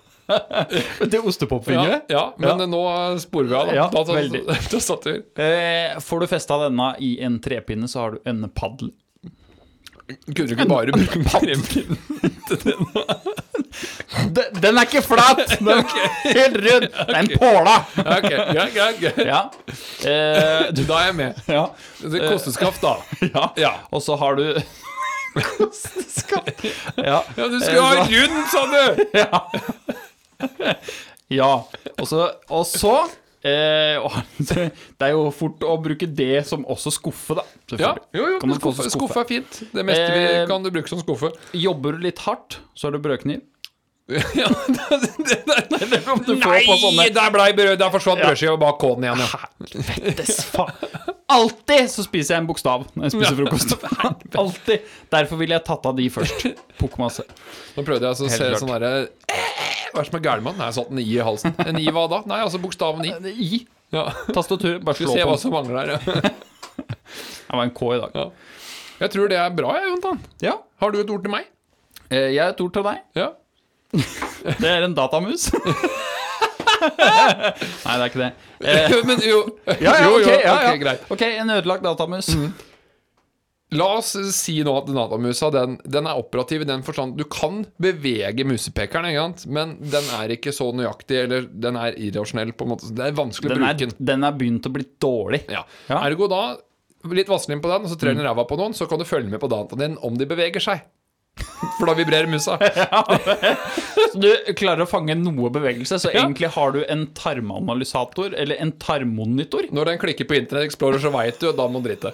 [SPEAKER 1] Det er
[SPEAKER 2] Ja,
[SPEAKER 1] ostepopfingre.
[SPEAKER 2] ja men
[SPEAKER 1] Ja.
[SPEAKER 2] nå sporer vi av. Da,
[SPEAKER 1] Ja,
[SPEAKER 2] da, da,
[SPEAKER 1] veldig.
[SPEAKER 2] (laughs) da, satt vi.
[SPEAKER 1] Eh, får du festa denne i en trepinne, så har du en paddel.
[SPEAKER 2] Kunne du ikke bare bruke paddel?
[SPEAKER 1] Den, er ikke flat! (laughs) Den er helt (laughs) rund. Det er en påla!
[SPEAKER 2] Ja, ok, greit, greit, greit.
[SPEAKER 1] Ja. Eh, du,
[SPEAKER 2] Da er jeg med.
[SPEAKER 1] ja.
[SPEAKER 2] Det Kosteskaft, da.
[SPEAKER 1] ja.
[SPEAKER 2] Ja.
[SPEAKER 1] Og så har du (laughs) Kosteskatt. Ja.
[SPEAKER 2] Ja, du skulle ha rund, sa du!
[SPEAKER 1] Ja. ja. Og så, og så eh, og- (laughs) Det er jo fort å bruke det som også skuffe, da.
[SPEAKER 2] Ja,
[SPEAKER 1] Selvfølgelig.
[SPEAKER 2] jo, jo,
[SPEAKER 1] Kan
[SPEAKER 2] men
[SPEAKER 1] man kalle
[SPEAKER 2] skuffe,
[SPEAKER 1] det skuffe?
[SPEAKER 2] skuffe er fint. Det meste vi
[SPEAKER 1] Eh,
[SPEAKER 2] kan du bruke som skuffe.
[SPEAKER 1] Jobber du litt hardt, så er du brødkniv.
[SPEAKER 2] (laughs) Ja, det, det, det, det kom
[SPEAKER 1] du få på sånne-
[SPEAKER 2] der blei brød, der forsvant brødskiva bak kålen igjen, ja.
[SPEAKER 1] Helvetes faen! Alltid så spiser jeg en bokstav når jeg spiser
[SPEAKER 2] (laughs)
[SPEAKER 1] frokost. Alltid. Derfor ville jeg tatt av de først. Pukk masse.
[SPEAKER 2] Nå prøvde jeg altså å se
[SPEAKER 1] klart.
[SPEAKER 2] sånn derre Hva er det som er gærent med han? Nei, jeg satt en i i halsen. En i hva da? Nei, altså bokstaven i.
[SPEAKER 1] I
[SPEAKER 2] Ja.
[SPEAKER 1] tastatur. Bare
[SPEAKER 2] Skal
[SPEAKER 1] slå
[SPEAKER 2] vi se
[SPEAKER 1] på.
[SPEAKER 2] hva som mangler her.
[SPEAKER 1] Det var en K i dag.
[SPEAKER 2] Ja. Jeg tror det er bra, jeg, Jontan.
[SPEAKER 1] Ja.
[SPEAKER 2] Har du et ord til meg?
[SPEAKER 1] eh, Jeg har et ord til deg.
[SPEAKER 2] Ja.
[SPEAKER 1] Det er en datamus. (laughs) Nei, det er ikke det. Eh,
[SPEAKER 2] (laughs) Men jo,
[SPEAKER 1] Ja, ja,
[SPEAKER 2] jo,
[SPEAKER 1] ok,
[SPEAKER 2] jo,
[SPEAKER 1] ja, ja.
[SPEAKER 2] ok, greit. Mm,
[SPEAKER 1] ok, en ødelagt datamus.
[SPEAKER 2] La oss si nå at datamusa den, den er operativ i den forstand Du kan bevege musepekeren, ikke sant? men den er ikke så nøyaktig, eller den er irrasjonell, på en måte. Så Det er vanskelig å
[SPEAKER 1] Den,
[SPEAKER 2] bruke
[SPEAKER 1] er,
[SPEAKER 2] den.
[SPEAKER 1] den er begynt å bli dårlig.
[SPEAKER 2] (laughs) Ja.
[SPEAKER 1] Ja. Mm.
[SPEAKER 2] Ergo da litt vassling på den, og så trer den ræva på noen, så kan du følge med på dataen din om de beveger seg. (laughs) For da vibrerer musa.
[SPEAKER 1] Så du klarer å fange noe bevegelse, så egentlig har du en tarmanalysator, eller en tarmmonitor.
[SPEAKER 2] Når den klikker på Internett Explorer, så veit du, og da må
[SPEAKER 1] (laughs)
[SPEAKER 2] den drite.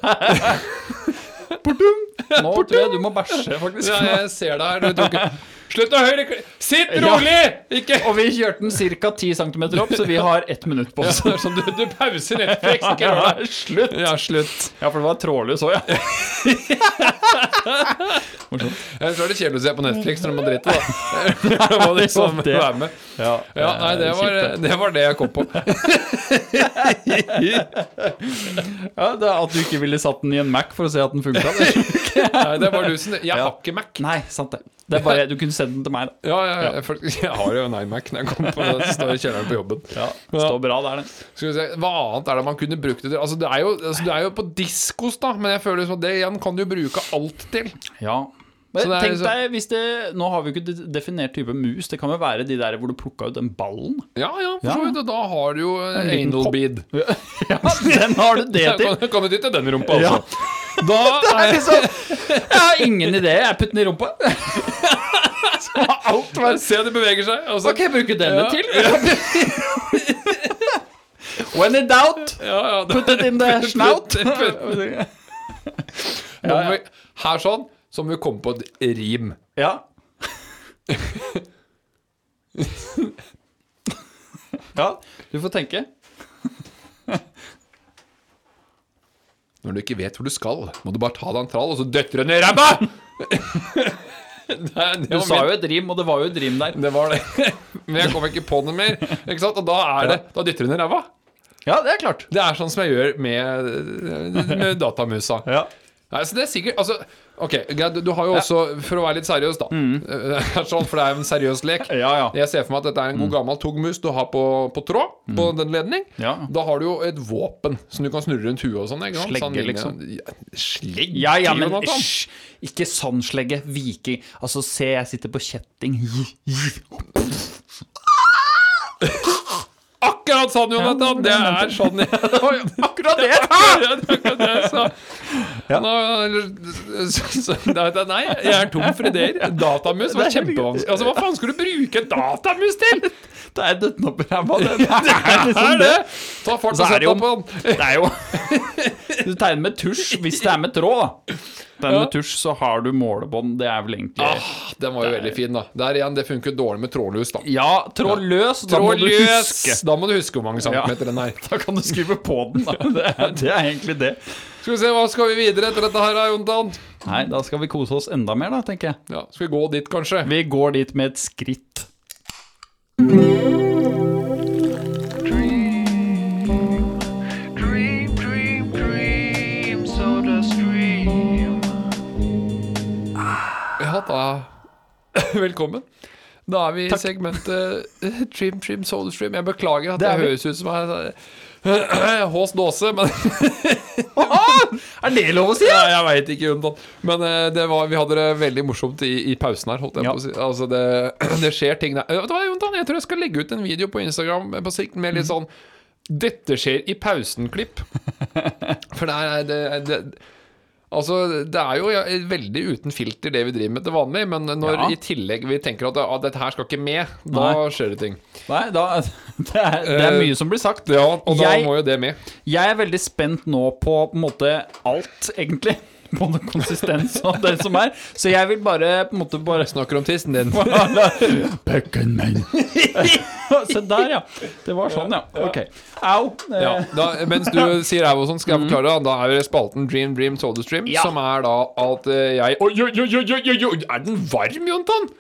[SPEAKER 1] Nå tror jeg du må bæsje, faktisk.
[SPEAKER 2] Ja, jeg ser deg her. Du tok Slutt å høyre kli- Sitt rolig! Ikke
[SPEAKER 1] (laughs) Og vi kjørte den ca. 10 cm opp, så vi har ett minutt på oss. (laughs)
[SPEAKER 2] Det er sånn, du, du pauser Netflix, ikke
[SPEAKER 1] Ja,
[SPEAKER 2] rør deg.
[SPEAKER 1] slutt.
[SPEAKER 2] Ja, slutt.
[SPEAKER 1] Ja, for det var trådløs òg, ja.
[SPEAKER 2] Jeg tror det er kjedelig å se på Netflix når du må
[SPEAKER 1] (laughs)
[SPEAKER 2] drite, da. (laughs) Da må du liksom
[SPEAKER 1] Det-
[SPEAKER 2] være med.
[SPEAKER 1] ja.
[SPEAKER 2] (laughs) Ja, nei, det var, det var det jeg kom
[SPEAKER 1] (laughs)
[SPEAKER 2] på.
[SPEAKER 1] det er At du ikke ville satt den i en Mac for å se at den
[SPEAKER 2] (laughs)
[SPEAKER 1] funka.
[SPEAKER 2] Nei, det var du som Jeg har ikke Mac.
[SPEAKER 1] Nei, sant det. Det er bare, Du kunne sendt den til meg, da.
[SPEAKER 2] Ja, ja, jeg, for, (laughs) jeg har jo en iMac når jeg kommer på det. Står i kjelleren på jobben.
[SPEAKER 1] Ja, Står bra der, det.
[SPEAKER 2] Skal vi se, Hva annet er det man kunne brukt det til? Altså, det er jo, altså, det er jo på diskos, da, men jeg føler som at det igjen kan du bruke alt til.
[SPEAKER 1] Ja. Men
[SPEAKER 2] Så det er
[SPEAKER 1] tenk
[SPEAKER 2] liksom-
[SPEAKER 1] deg, hvis det, Nå har vi jo ikke de- definert type mus. Det kan jo være de der hvor du plukka ut den ballen.
[SPEAKER 2] Ja, ja, for
[SPEAKER 1] Ja.
[SPEAKER 2] så vidt. og Da har du jo eh,
[SPEAKER 1] En liten
[SPEAKER 2] anal
[SPEAKER 1] kopp.
[SPEAKER 2] bead.
[SPEAKER 1] Ja, (laughs) den har du (laughs) det
[SPEAKER 2] Da
[SPEAKER 1] til!
[SPEAKER 2] (laughs) kan, kan du dytte den i rumpa,
[SPEAKER 1] Ja. (laughs)
[SPEAKER 2] altså. (laughs) Da
[SPEAKER 1] Det er liksom, jeg har ingen idé. Jeg putter den i rumpa.
[SPEAKER 2] (laughs) alt være Se, det beveger seg.
[SPEAKER 1] Hva
[SPEAKER 2] Altså,
[SPEAKER 1] kan jeg bruke denne
[SPEAKER 2] Ja.
[SPEAKER 1] til? When in doubt,
[SPEAKER 2] ja, ja, da,
[SPEAKER 1] put it in the
[SPEAKER 2] (laughs)
[SPEAKER 1] snout.
[SPEAKER 2] må vi- Her sånn, så må vi komme på et rim.
[SPEAKER 1] Ja. Ja, du får tenke.
[SPEAKER 2] (laughs) Når du ikke vet hvor du skal, må du bare ta deg en trall, og så døtter du den i ræva!
[SPEAKER 1] Du sa jo et rim, og det var jo et rim der.
[SPEAKER 2] Det var det. (laughs) Men jeg kom ikke på det mer. Ikke sant? Og da er det Da dytter hun i ræva.
[SPEAKER 1] Ja, det er klart.
[SPEAKER 2] Det er sånn som jeg gjør med, med datamusa.
[SPEAKER 1] Ja.
[SPEAKER 2] Nei, så det er sikkert Altså, ok, greit, du, du har jo også For å være litt seriøs, da. (laughs) Det er sånn, for det er jo en seriøs lek.
[SPEAKER 1] Mm. Ja, ja. Mm.
[SPEAKER 2] Jeg ser for meg at dette er en god gammel togmus du har på, på tråd, på den ledning.
[SPEAKER 1] Ja.
[SPEAKER 2] Da har du jo et våpen som du kan snurre rundt huet og sånn. ikke sant?
[SPEAKER 1] Slegge,
[SPEAKER 2] Sånn linje.
[SPEAKER 1] liksom.
[SPEAKER 2] Ja, Slegge,
[SPEAKER 1] Ja, ja, men
[SPEAKER 2] Jonathan.
[SPEAKER 1] hysj! Ikke sånn slegge. Viking. Altså, se, jeg sitter på kjetting. (laughs)
[SPEAKER 2] Akkurat sånn, Jonathan! Det er sånn (laughs) Det var jo akkurat
[SPEAKER 1] (laughs)
[SPEAKER 2] det! Akkurat det jeg sa. Nå, så, så, da- da- nei, jeg er tom for ideer. Datamus var
[SPEAKER 1] Det er helt
[SPEAKER 2] kjempevanskelig. Altså, Hva faen skulle du bruke en datamus til?!
[SPEAKER 1] Det er døtten opp i ræva. (laughs) Det, det (laughs) er liksom
[SPEAKER 2] Er
[SPEAKER 1] det.
[SPEAKER 2] det? Ta fart
[SPEAKER 1] Så
[SPEAKER 2] og
[SPEAKER 1] er
[SPEAKER 2] sett
[SPEAKER 1] det jo-
[SPEAKER 2] deg på den.
[SPEAKER 1] Det er jo (laughs) Du tegner med tusj hvis det er med tråd. da. Tegner med tusj, så har du målebånd. Det er vel egentlig
[SPEAKER 2] Ah, den var jo veldig fin, da. Der igjen, det funker dårlig med trådløs, da.
[SPEAKER 1] Ja, tråd løs, da må du
[SPEAKER 2] Trådløs!
[SPEAKER 1] huske.
[SPEAKER 2] Da må du huske hvor mange centimeter den er.
[SPEAKER 1] Da kan du skrive på (laughs) den. Da. Det, er, det er egentlig det.
[SPEAKER 2] Skal vi se, hva skal vi videre etter dette her, da, Jonathan?
[SPEAKER 1] Nei, da skal vi kose oss enda mer, da, tenker jeg.
[SPEAKER 2] Ja, skal vi gå dit, kanskje?
[SPEAKER 1] Vi går dit med et skritt.
[SPEAKER 3] dream, dream, dream, dream, soda stream.
[SPEAKER 2] Ja da. (laughs) Velkommen. Da er vi i segmentet eh, Trim Trim Soul Stream. Jeg beklager at det
[SPEAKER 1] er vi.
[SPEAKER 2] høres ut som jeg (clears throat) Hås dåse, men (laughs)
[SPEAKER 1] Er det lov å si?
[SPEAKER 2] ja, Jeg veit ikke, Jonathan. Men eh, det var, vi hadde det veldig morsomt i, i pausen her, holdt jeg
[SPEAKER 1] Ja.
[SPEAKER 2] på å si. Altså, det, (clears throat) det skjer ting der. Eh, Vet du hva, Jonathan? Jeg tror jeg skal legge ut en video på Instagram på sikt med
[SPEAKER 1] Mhm.
[SPEAKER 2] litt sånn 'Dette skjer i
[SPEAKER 1] (laughs)
[SPEAKER 2] pausen'-klipp. For det er det, det Altså, det er jo ja, veldig uten filter det vi driver med til vanlig, men når
[SPEAKER 1] Ja.
[SPEAKER 2] i tillegg vi tenker at ah, 'dette her skal ikke med', da
[SPEAKER 1] Nei.
[SPEAKER 2] skjer det ting. Eh,
[SPEAKER 1] Nei, da (laughs) Det er, det er mye som blir sagt.
[SPEAKER 2] Ja, og da
[SPEAKER 1] Jeg-
[SPEAKER 2] må jo det med.
[SPEAKER 1] Jeg er veldig spent nå på på en måte alt, egentlig. (laughs) Både konsistens og det som er. Så jeg vil bare på en måte
[SPEAKER 2] (laughs)
[SPEAKER 1] bare
[SPEAKER 2] Snakker om tissen
[SPEAKER 1] (laughs)
[SPEAKER 2] din.
[SPEAKER 1] Se der, ja. Det var sånn, ja. Ok. Au. Eh, Mm.
[SPEAKER 2] Ja, da, mens du
[SPEAKER 1] (laughs)
[SPEAKER 2] sier au og sånn, skal jeg forklare. Da er jo spalten Dream Dream Soda Stream,
[SPEAKER 1] Ja.
[SPEAKER 2] som er da at eh, jeg Oi, oi, oi, oi, oi, oi, er den varm, Jontan?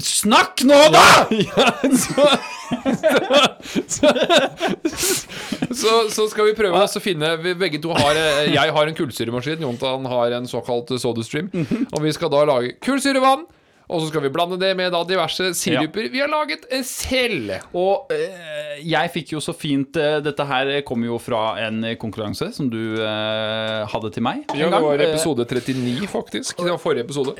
[SPEAKER 1] Snakk nå, da! (laughs)
[SPEAKER 2] Så, så skal vi prøve å finne vi Begge to har eh, Jeg har en kullsyremaskin, Jontan har en såkalt Soda Stream.
[SPEAKER 1] Mhm.
[SPEAKER 2] Og vi skal da lage kullsyrevann. Og så skal vi blande det med da diverse siruper vi har laget eh, selv.
[SPEAKER 1] Og eh, jeg fikk jo så fint eh, Dette her kom jo fra en konkurranse som du eh, hadde til meg. en
[SPEAKER 2] Ja, det
[SPEAKER 1] gang.
[SPEAKER 2] var
[SPEAKER 1] Eh,
[SPEAKER 2] episode 39, faktisk. Det var forrige episode.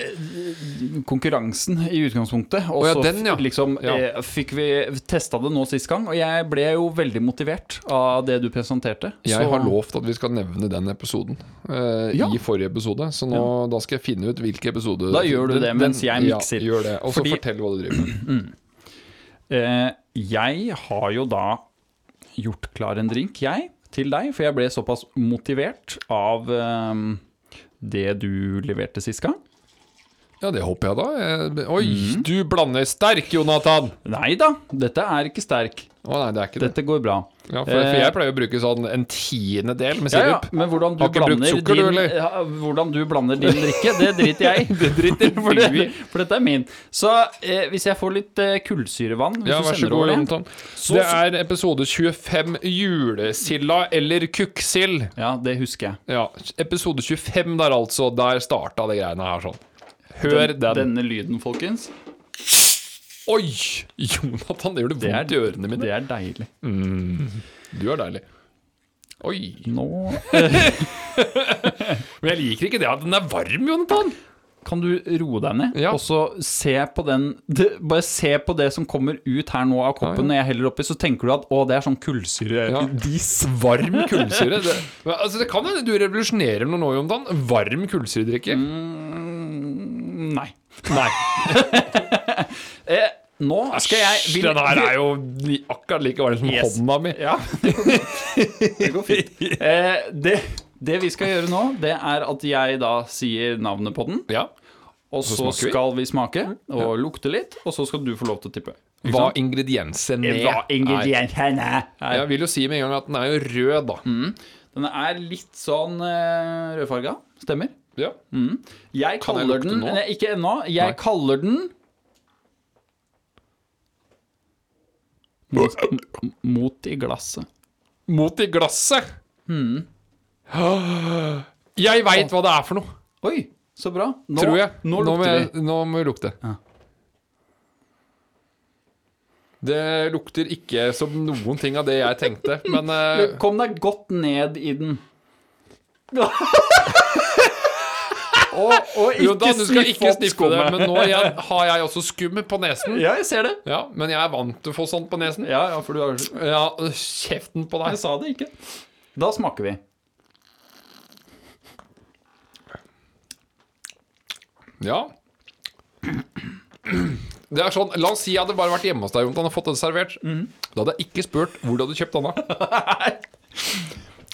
[SPEAKER 1] konkurransen i utgangspunktet. Og
[SPEAKER 2] Å ja,
[SPEAKER 1] så
[SPEAKER 2] den, ja.
[SPEAKER 1] f- liksom,
[SPEAKER 2] Ja.
[SPEAKER 1] eh, fikk vi testa det nå sist gang, og jeg ble jo veldig motivert av det du presenterte.
[SPEAKER 2] Jeg
[SPEAKER 1] Så-
[SPEAKER 2] har lovt at vi skal nevne den episoden eh,
[SPEAKER 1] Ja.
[SPEAKER 2] i forrige episode. Så nå, da skal jeg finne ut hvilken episode
[SPEAKER 1] Da gjør du
[SPEAKER 2] den-
[SPEAKER 1] det
[SPEAKER 2] den-
[SPEAKER 1] mens jeg mikser.
[SPEAKER 2] Ja, gjør det. Og så
[SPEAKER 1] Fordi-
[SPEAKER 2] fortell hva du driver med.
[SPEAKER 1] Eh, jeg har jo da gjort klar en drink, jeg, til deg, for jeg ble såpass motivert av eh, det du leverte sist gang.
[SPEAKER 2] (clears throat) Ja, det håper jeg da. Eh, Oi, du blander sterk, Jonathan!
[SPEAKER 1] Nei da, dette er ikke sterk.
[SPEAKER 2] Å nei, det er ikke det.
[SPEAKER 1] Dette går bra.
[SPEAKER 2] Ja, for, for jeg pleier å bruke sånn en tiendedel med
[SPEAKER 1] Ja, ja,
[SPEAKER 2] sirup.
[SPEAKER 1] men hvordan du,
[SPEAKER 2] Har ikke brukt
[SPEAKER 1] blander
[SPEAKER 2] sukker, du,
[SPEAKER 1] din,
[SPEAKER 2] eller?
[SPEAKER 1] ja, hvordan du blander din drikke, det driter jeg
[SPEAKER 2] (laughs)
[SPEAKER 1] i. det driter for, det, for dette er min. Så eh, hvis jeg får litt eh, kullsyrevann hvis
[SPEAKER 2] Ja,
[SPEAKER 1] du
[SPEAKER 2] vær så
[SPEAKER 1] sender
[SPEAKER 2] god,
[SPEAKER 1] over det
[SPEAKER 2] Jonathan. Det er episode 25, Julesilda eller kukksild.
[SPEAKER 1] Ja, det husker jeg.
[SPEAKER 2] Ja, episode 25 der, altså. Der starta det greiene her sånn. Hør den.
[SPEAKER 1] Denne lyden, folkens,
[SPEAKER 2] Oi! Jonathan, det gjør det
[SPEAKER 1] det er,
[SPEAKER 2] vondt i ørene mine.
[SPEAKER 1] det er deilig.
[SPEAKER 2] Du er deilig. Oi.
[SPEAKER 1] Nå
[SPEAKER 2] Men jeg liker ikke det at den er varm, Jonathan.
[SPEAKER 1] kan du roe deg ned,
[SPEAKER 2] Ja.
[SPEAKER 1] og så se på den det- Bare se på det som kommer ut her nå av koppen
[SPEAKER 2] Ja, ja.
[SPEAKER 1] når jeg heller oppi, så tenker du at å, det er sånn kullsyre...
[SPEAKER 2] Ja. Varm kullsyre. Det, men, altså, det kan hende du revolusjonerer noe nå, Jonathan. Varm kullsyredrikke.
[SPEAKER 1] Nei. Nei. (laughs) eh, nå skal jeg
[SPEAKER 2] Æsj,
[SPEAKER 1] vil-
[SPEAKER 2] den her er jo li, akkurat like varm som
[SPEAKER 1] Yes.
[SPEAKER 2] hånda mi.
[SPEAKER 1] Ja, det går fint.
[SPEAKER 2] (laughs)
[SPEAKER 1] Eh, det, det vi skal gjøre nå, det er at jeg da sier navnet på den,
[SPEAKER 2] Ja.
[SPEAKER 1] og så,
[SPEAKER 2] smaker vi. Mm,
[SPEAKER 1] skal vi smake og lukte litt, og så skal du få lov til å tippe. Ikke
[SPEAKER 2] Hva
[SPEAKER 1] sant?
[SPEAKER 2] ingrediensen er.
[SPEAKER 1] Hva ingrediensene
[SPEAKER 2] Nei.
[SPEAKER 1] er.
[SPEAKER 2] Jeg vil jo si
[SPEAKER 1] Mm.
[SPEAKER 2] med en gang at den er jo rød, da.
[SPEAKER 1] Den er litt sånn eh, rødfarga. Stemmer.
[SPEAKER 2] Ja.
[SPEAKER 1] Jeg
[SPEAKER 2] Kan jeg
[SPEAKER 1] kaller
[SPEAKER 2] lukte
[SPEAKER 1] den
[SPEAKER 2] nå?
[SPEAKER 1] Nei, Ikke ennå. Jeg
[SPEAKER 2] Nei.
[SPEAKER 1] kaller den Mot, m- mot i glasset.
[SPEAKER 2] Mot i glasset.
[SPEAKER 1] Mm.
[SPEAKER 2] Jeg veit hva det er for noe,
[SPEAKER 1] Oi, så bra. Nå,
[SPEAKER 2] tror jeg.
[SPEAKER 1] Nå
[SPEAKER 2] må
[SPEAKER 1] lukter
[SPEAKER 2] jeg,
[SPEAKER 1] vi.
[SPEAKER 2] nå må vi lukte.
[SPEAKER 1] Ja.
[SPEAKER 2] Det lukter ikke som noen ting av det jeg tenkte,
[SPEAKER 1] (laughs)
[SPEAKER 2] men eh,
[SPEAKER 1] Kom deg godt ned i den. (laughs) og, og ikke
[SPEAKER 2] Jonathan, du skal ikke
[SPEAKER 1] opp
[SPEAKER 2] sniffe det,
[SPEAKER 1] skummet. (laughs)
[SPEAKER 2] men nå jeg, har jeg også skum på nesen.
[SPEAKER 1] Ja, jeg ser det.
[SPEAKER 2] Ja, men jeg er vant til å få sånt på nesen.
[SPEAKER 1] Ja, ja, for du (laughs) har
[SPEAKER 2] Ja, kjeften på
[SPEAKER 1] Jeg
[SPEAKER 2] deg.
[SPEAKER 1] sa det ikke. Da smaker vi.
[SPEAKER 2] Ja. Det er sånn, La oss si jeg hadde bare vært hjemme hos deg Jonathan, og fått det servert.
[SPEAKER 1] Mm.
[SPEAKER 2] Da hadde jeg ikke spurt hvor du hadde kjøpt denne.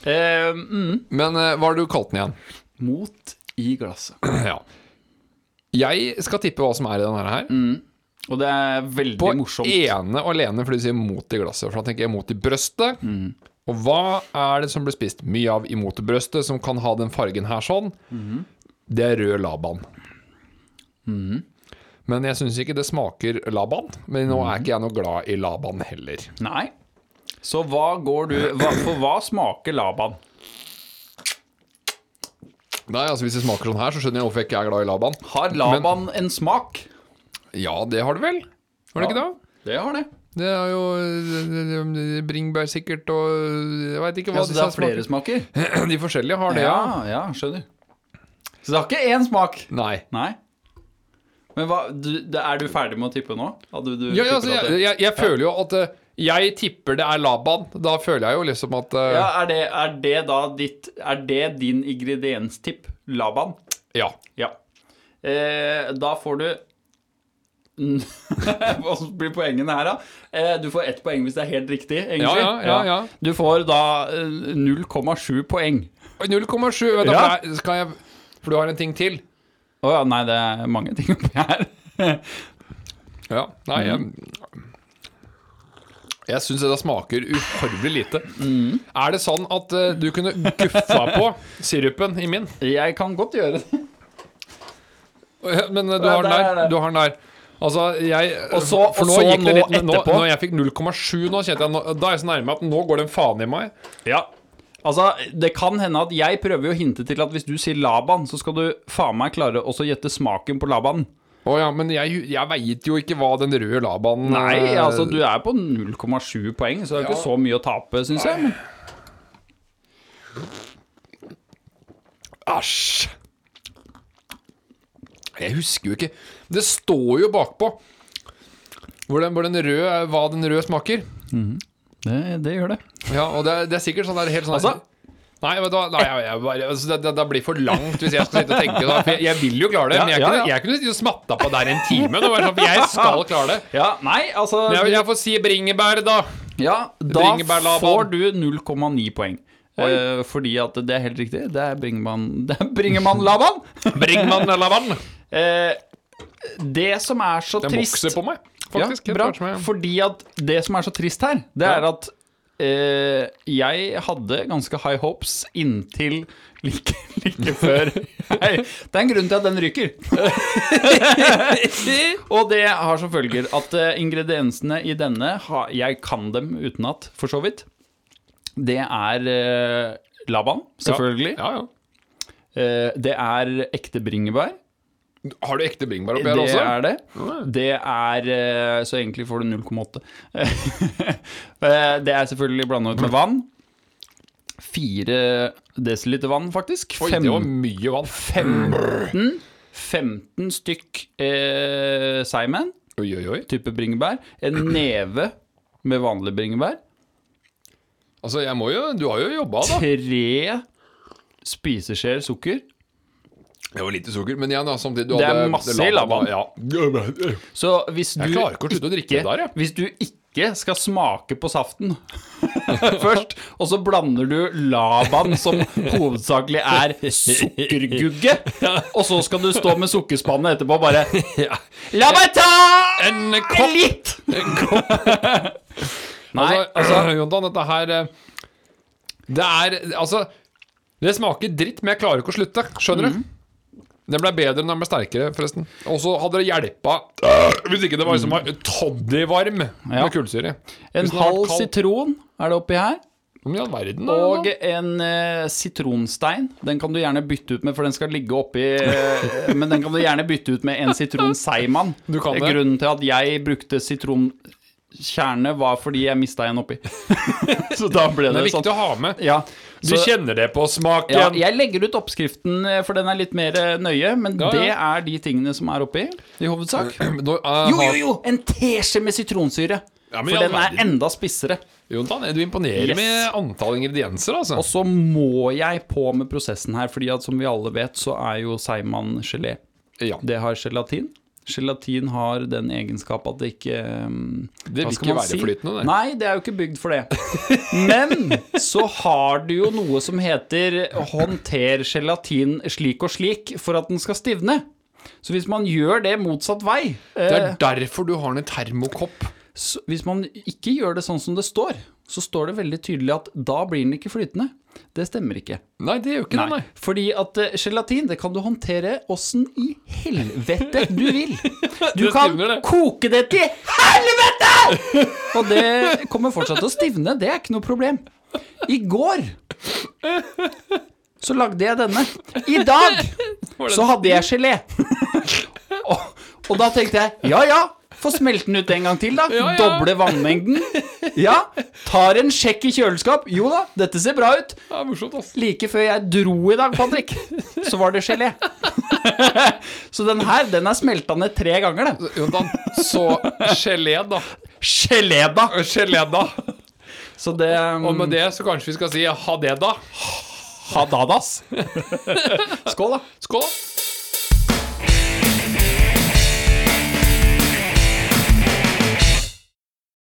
[SPEAKER 1] Eh, mm.
[SPEAKER 2] Men eh, hva har du kalt den igjen?
[SPEAKER 1] Mot i glasset.
[SPEAKER 2] (clears throat) Ja. Jeg skal tippe hva som er i denne her.
[SPEAKER 1] Og det er veldig
[SPEAKER 2] På
[SPEAKER 1] morsomt.
[SPEAKER 2] ene og alene, for du sier mot i glasset. For da tenker jeg mot i brøstet.
[SPEAKER 1] Mm.
[SPEAKER 2] Og hva er det som blir spist mye av imot i brøstet, som kan ha den fargen her sånn?
[SPEAKER 1] Mm.
[SPEAKER 2] Det er rød laban. Men jeg syns ikke det smaker laban. Men nå er ikke jeg noe glad i laban heller.
[SPEAKER 1] Nei. Så hva går du hva, For hva smaker laban?
[SPEAKER 2] Nei, altså Hvis det smaker sånn her, så skjønner jeg hvorfor jeg ikke er glad i laban.
[SPEAKER 1] Har laban en smak?
[SPEAKER 2] Ja, det har det vel? Har
[SPEAKER 1] Ja.
[SPEAKER 2] det ikke det?
[SPEAKER 1] Det har det.
[SPEAKER 2] Det er jo eh, bringebær sikkert, og jeg veit ikke hva
[SPEAKER 1] Ja, så det
[SPEAKER 2] disse
[SPEAKER 1] er flere smaker?
[SPEAKER 2] smaker. (clears throat) De forskjellige har det, ja.
[SPEAKER 1] (laughs) Ja, ja, skjønner. Så det har ikke én smak?
[SPEAKER 2] Nei.
[SPEAKER 1] Nei. Men hva, du, det- er du ferdig med å tippe nå? Hadde du
[SPEAKER 2] Ja,
[SPEAKER 1] tippet
[SPEAKER 2] ja, altså,
[SPEAKER 1] at
[SPEAKER 2] jeg,
[SPEAKER 1] det-
[SPEAKER 2] jeg, jeg føler jo at eh, Jeg tipper det er Laban. Da føler jeg jo liksom at eh,
[SPEAKER 1] ja, er, det, er det da ditt Er det din ingredienstipp? Laban?
[SPEAKER 2] ja.
[SPEAKER 1] Ja. Eh, da får du (laughs) Hva blir poengene her, da? Eh, du får ett poeng hvis det er helt riktig.
[SPEAKER 2] Ja,
[SPEAKER 1] egentlig.
[SPEAKER 2] ja, ja, ja.
[SPEAKER 1] Du får da eh, 0,7 poeng.
[SPEAKER 2] 0,7. vet du,
[SPEAKER 1] Ja.
[SPEAKER 2] for det er- Skal jeg For du har en ting til?
[SPEAKER 1] Å ja, nei, det er mange ting oppi her.
[SPEAKER 2] Ja. Nei, jeg
[SPEAKER 1] Mm.
[SPEAKER 2] jeg syns det smaker uhorvelig lite.
[SPEAKER 1] Mm.
[SPEAKER 2] Er det sånn at eh, du kunne guffa på sirupen i min?
[SPEAKER 1] Jeg kan godt gjøre det.
[SPEAKER 2] Men eh, du
[SPEAKER 1] Ja,
[SPEAKER 2] har den
[SPEAKER 1] der er
[SPEAKER 2] der.
[SPEAKER 1] det.
[SPEAKER 2] Du har den der. Altså, jeg
[SPEAKER 1] Og så-
[SPEAKER 2] For
[SPEAKER 1] og
[SPEAKER 2] nå
[SPEAKER 1] så
[SPEAKER 2] gikk det
[SPEAKER 1] nå
[SPEAKER 2] litt men Nå,
[SPEAKER 1] etterpå.
[SPEAKER 2] når jeg fikk 0,7 nå, kjente jeg nå- Da er jeg så nærme at nå går det en faen i meg.
[SPEAKER 1] Ja. Altså, Det kan hende at jeg prøver jo å hinte til at hvis du sier Laban, så skal du faen meg klare også å gjette smaken på Laban.
[SPEAKER 2] Å ja, men jeg, jeg veit jo ikke hva den røde labaen
[SPEAKER 1] Nei,
[SPEAKER 2] eh,
[SPEAKER 1] altså du er på 0,7 poeng, så det er ikke så mye å tape, syns jeg. men-
[SPEAKER 2] Æsj! Jeg husker jo ikke Det står jo bakpå hvor den, hvor den røde, eh, hva den røde smaker.
[SPEAKER 1] Det, det gjør det.
[SPEAKER 2] Ja, og det er, det er sikkert sånn der helt sånn
[SPEAKER 1] Altså-
[SPEAKER 2] Nei, vet du hva, nei, jeg, jeg, bare- altså, det, det, det blir for langt hvis jeg skal sitte og tenke. Da, for jeg, jeg vil jo klare det,
[SPEAKER 1] Ja,
[SPEAKER 2] men jeg,
[SPEAKER 1] ja,
[SPEAKER 2] kunne,
[SPEAKER 1] ja.
[SPEAKER 2] jeg kunne sitte og smatta på der en time. Da, bare sånn, for jeg skal klare det.
[SPEAKER 1] (laughs) Ja, nei, altså
[SPEAKER 2] Men Jeg, jeg får si bringebær, da.
[SPEAKER 1] Ja, da
[SPEAKER 2] Bringebærlaban.
[SPEAKER 1] får du 0,9 poeng. Eh, fordi at det er helt riktig. Det er bringemann (laughs) Det er bringemann-laban!
[SPEAKER 2] Bringmann eller vann.
[SPEAKER 1] Eh, det som er så
[SPEAKER 2] Den
[SPEAKER 1] trist
[SPEAKER 2] vokser på meg, faktisk.
[SPEAKER 1] ja, bra,
[SPEAKER 2] helt klart som jeg-
[SPEAKER 1] Fordi at det som er så trist her, det
[SPEAKER 2] Ja.
[SPEAKER 1] er at eh, jeg hadde ganske high hopes inntil like, (laughs) like før. Nei, det er en grunn til at den
[SPEAKER 2] (laughs)
[SPEAKER 1] ryker. Og det har som følger at eh, ingrediensene i denne har- Jeg kan dem utenat, for så vidt. Det er eh, laban, selvfølgelig.
[SPEAKER 2] Ja, ja.
[SPEAKER 1] Eh, det er ekte bringebær.
[SPEAKER 2] Har du ekte bringebær oppi
[SPEAKER 1] Det
[SPEAKER 2] her også?
[SPEAKER 1] er det.
[SPEAKER 2] Mm.
[SPEAKER 1] Det er eh, Så egentlig får du 0,8. (laughs) Eh, det er selvfølgelig blanda ut med vann. 4 desiliter vann, faktisk.
[SPEAKER 2] Oi,
[SPEAKER 1] Fem-
[SPEAKER 2] det var mye vann.
[SPEAKER 1] 15, 15 stykk eh, Seimen,
[SPEAKER 2] Oi, oi, oi.
[SPEAKER 1] type bringebær. En neve med vanlig bringebær.
[SPEAKER 2] Altså, jeg må jo Du har jo jobba, da.
[SPEAKER 1] Tre spiseskjeer sukker.
[SPEAKER 2] Det var lite sukker, men igjen, da, samtidig du
[SPEAKER 1] Det er
[SPEAKER 2] hadde-
[SPEAKER 1] masse
[SPEAKER 2] la-
[SPEAKER 1] i laban.
[SPEAKER 2] Ja. Jeg
[SPEAKER 1] Så hvis du
[SPEAKER 2] klarer ikke å slutte å drikke det der, jeg.
[SPEAKER 1] Hvis du ikke skal smake på saften (laughs) først, og så blander du laban, som hovedsakelig er sukkergugge, og så skal du stå med sukkerspannet etterpå og bare La meg ta
[SPEAKER 2] En kopp.
[SPEAKER 1] litt! Nei,
[SPEAKER 2] Altså, altså Jontan, dette her eh,
[SPEAKER 1] Mm.
[SPEAKER 2] Det er Altså, det smaker dritt, men jeg klarer ikke å slutte. Skjønner du? Den ble bedre når den ble sterkere, forresten. Og så hadde det hjelpa hvis ikke det var liksom var toddy varm
[SPEAKER 1] Mm. Ja.
[SPEAKER 2] med kullsyre.
[SPEAKER 1] En
[SPEAKER 2] Hvis den hadde
[SPEAKER 1] halv
[SPEAKER 2] vært kald-
[SPEAKER 1] sitron er det oppi her.
[SPEAKER 2] Om i all verden, da.
[SPEAKER 1] Og en eh, sitronstein. Den kan du gjerne bytte ut med, for den skal ligge oppi eh, Men den kan du gjerne bytte ut med en sitronseigmann.
[SPEAKER 2] Du kan det.
[SPEAKER 1] Grunnen til at jeg brukte sitronkjerne, var fordi jeg mista en oppi. (laughs) Så da ble det,
[SPEAKER 2] det er viktig
[SPEAKER 1] sånn.
[SPEAKER 2] å ha med.
[SPEAKER 1] Ja,
[SPEAKER 2] Du
[SPEAKER 1] så-
[SPEAKER 2] kjenner det på
[SPEAKER 1] ja,
[SPEAKER 2] smaken.
[SPEAKER 1] jeg legger ut oppskriften, eh, for den er litt mer eh, nøye. Men
[SPEAKER 2] Ja, ja.
[SPEAKER 1] det er de tingene som er oppi, i hovedsak.
[SPEAKER 2] Nå,
[SPEAKER 1] Jo,
[SPEAKER 2] eh,
[SPEAKER 1] jo,
[SPEAKER 2] har-
[SPEAKER 1] jo! En teskje med sitronsyre.
[SPEAKER 2] Ja, men i
[SPEAKER 1] for
[SPEAKER 2] all
[SPEAKER 1] den er
[SPEAKER 2] verden.
[SPEAKER 1] enda spissere.
[SPEAKER 2] Jontan, du imponerer
[SPEAKER 1] Yes.
[SPEAKER 2] med antall ingredienser, altså.
[SPEAKER 1] Og så må jeg på med prosessen her, fordi at som vi alle vet, så er jo seigmann gelé.
[SPEAKER 2] Ja.
[SPEAKER 1] Det har gelatin. Gelatin har den egenskap at det ikke um,
[SPEAKER 2] Det
[SPEAKER 1] hva
[SPEAKER 2] vil
[SPEAKER 1] skal
[SPEAKER 2] ikke
[SPEAKER 1] man
[SPEAKER 2] være flytende, det.
[SPEAKER 1] Nei, det er jo ikke bygd for det. Men så har du jo noe som heter 'håndter gelatin slik og slik' for at den skal stivne. Så hvis man gjør det motsatt vei
[SPEAKER 2] Det
[SPEAKER 1] eh,
[SPEAKER 2] er derfor du har den i termokopp.
[SPEAKER 1] så hvis man ikke gjør det sånn som det står, så står det veldig tydelig at da blir den ikke flytende. Det stemmer ikke.
[SPEAKER 2] Nei, det gjør ikke det, nei.
[SPEAKER 1] Fordi at eh, gelatin, det kan du håndtere åssen i helvete du
[SPEAKER 2] (laughs)
[SPEAKER 1] vil. Du
[SPEAKER 2] Det
[SPEAKER 1] kan
[SPEAKER 2] stivner, det.
[SPEAKER 1] koke det til helvete! Og det kommer fortsatt til å stivne, det er ikke noe problem. I går så lagde jeg denne. I dag så hadde jeg gelé.
[SPEAKER 2] (laughs)
[SPEAKER 1] Og, og da tenkte jeg ja ja, få smelte den ut en gang til, da.
[SPEAKER 2] Ja, ja.
[SPEAKER 1] Doble vannmengden. Ja. Tar en sjekk i kjøleskap. Jo da, dette ser bra ut.
[SPEAKER 2] Det er morsomt, ass.
[SPEAKER 1] Like før jeg dro i dag, Patrick, så var det gelé. så den her, den er smelta ned tre ganger, den.
[SPEAKER 2] Jontan, så (laughs) gelé, da.
[SPEAKER 1] Gelé, da!
[SPEAKER 2] Gelé, da.
[SPEAKER 1] Så det um,
[SPEAKER 2] Og
[SPEAKER 1] Mm.
[SPEAKER 2] med det så kanskje vi skal si ha det, da.
[SPEAKER 1] Hadadas. Skål, da.
[SPEAKER 2] Skål.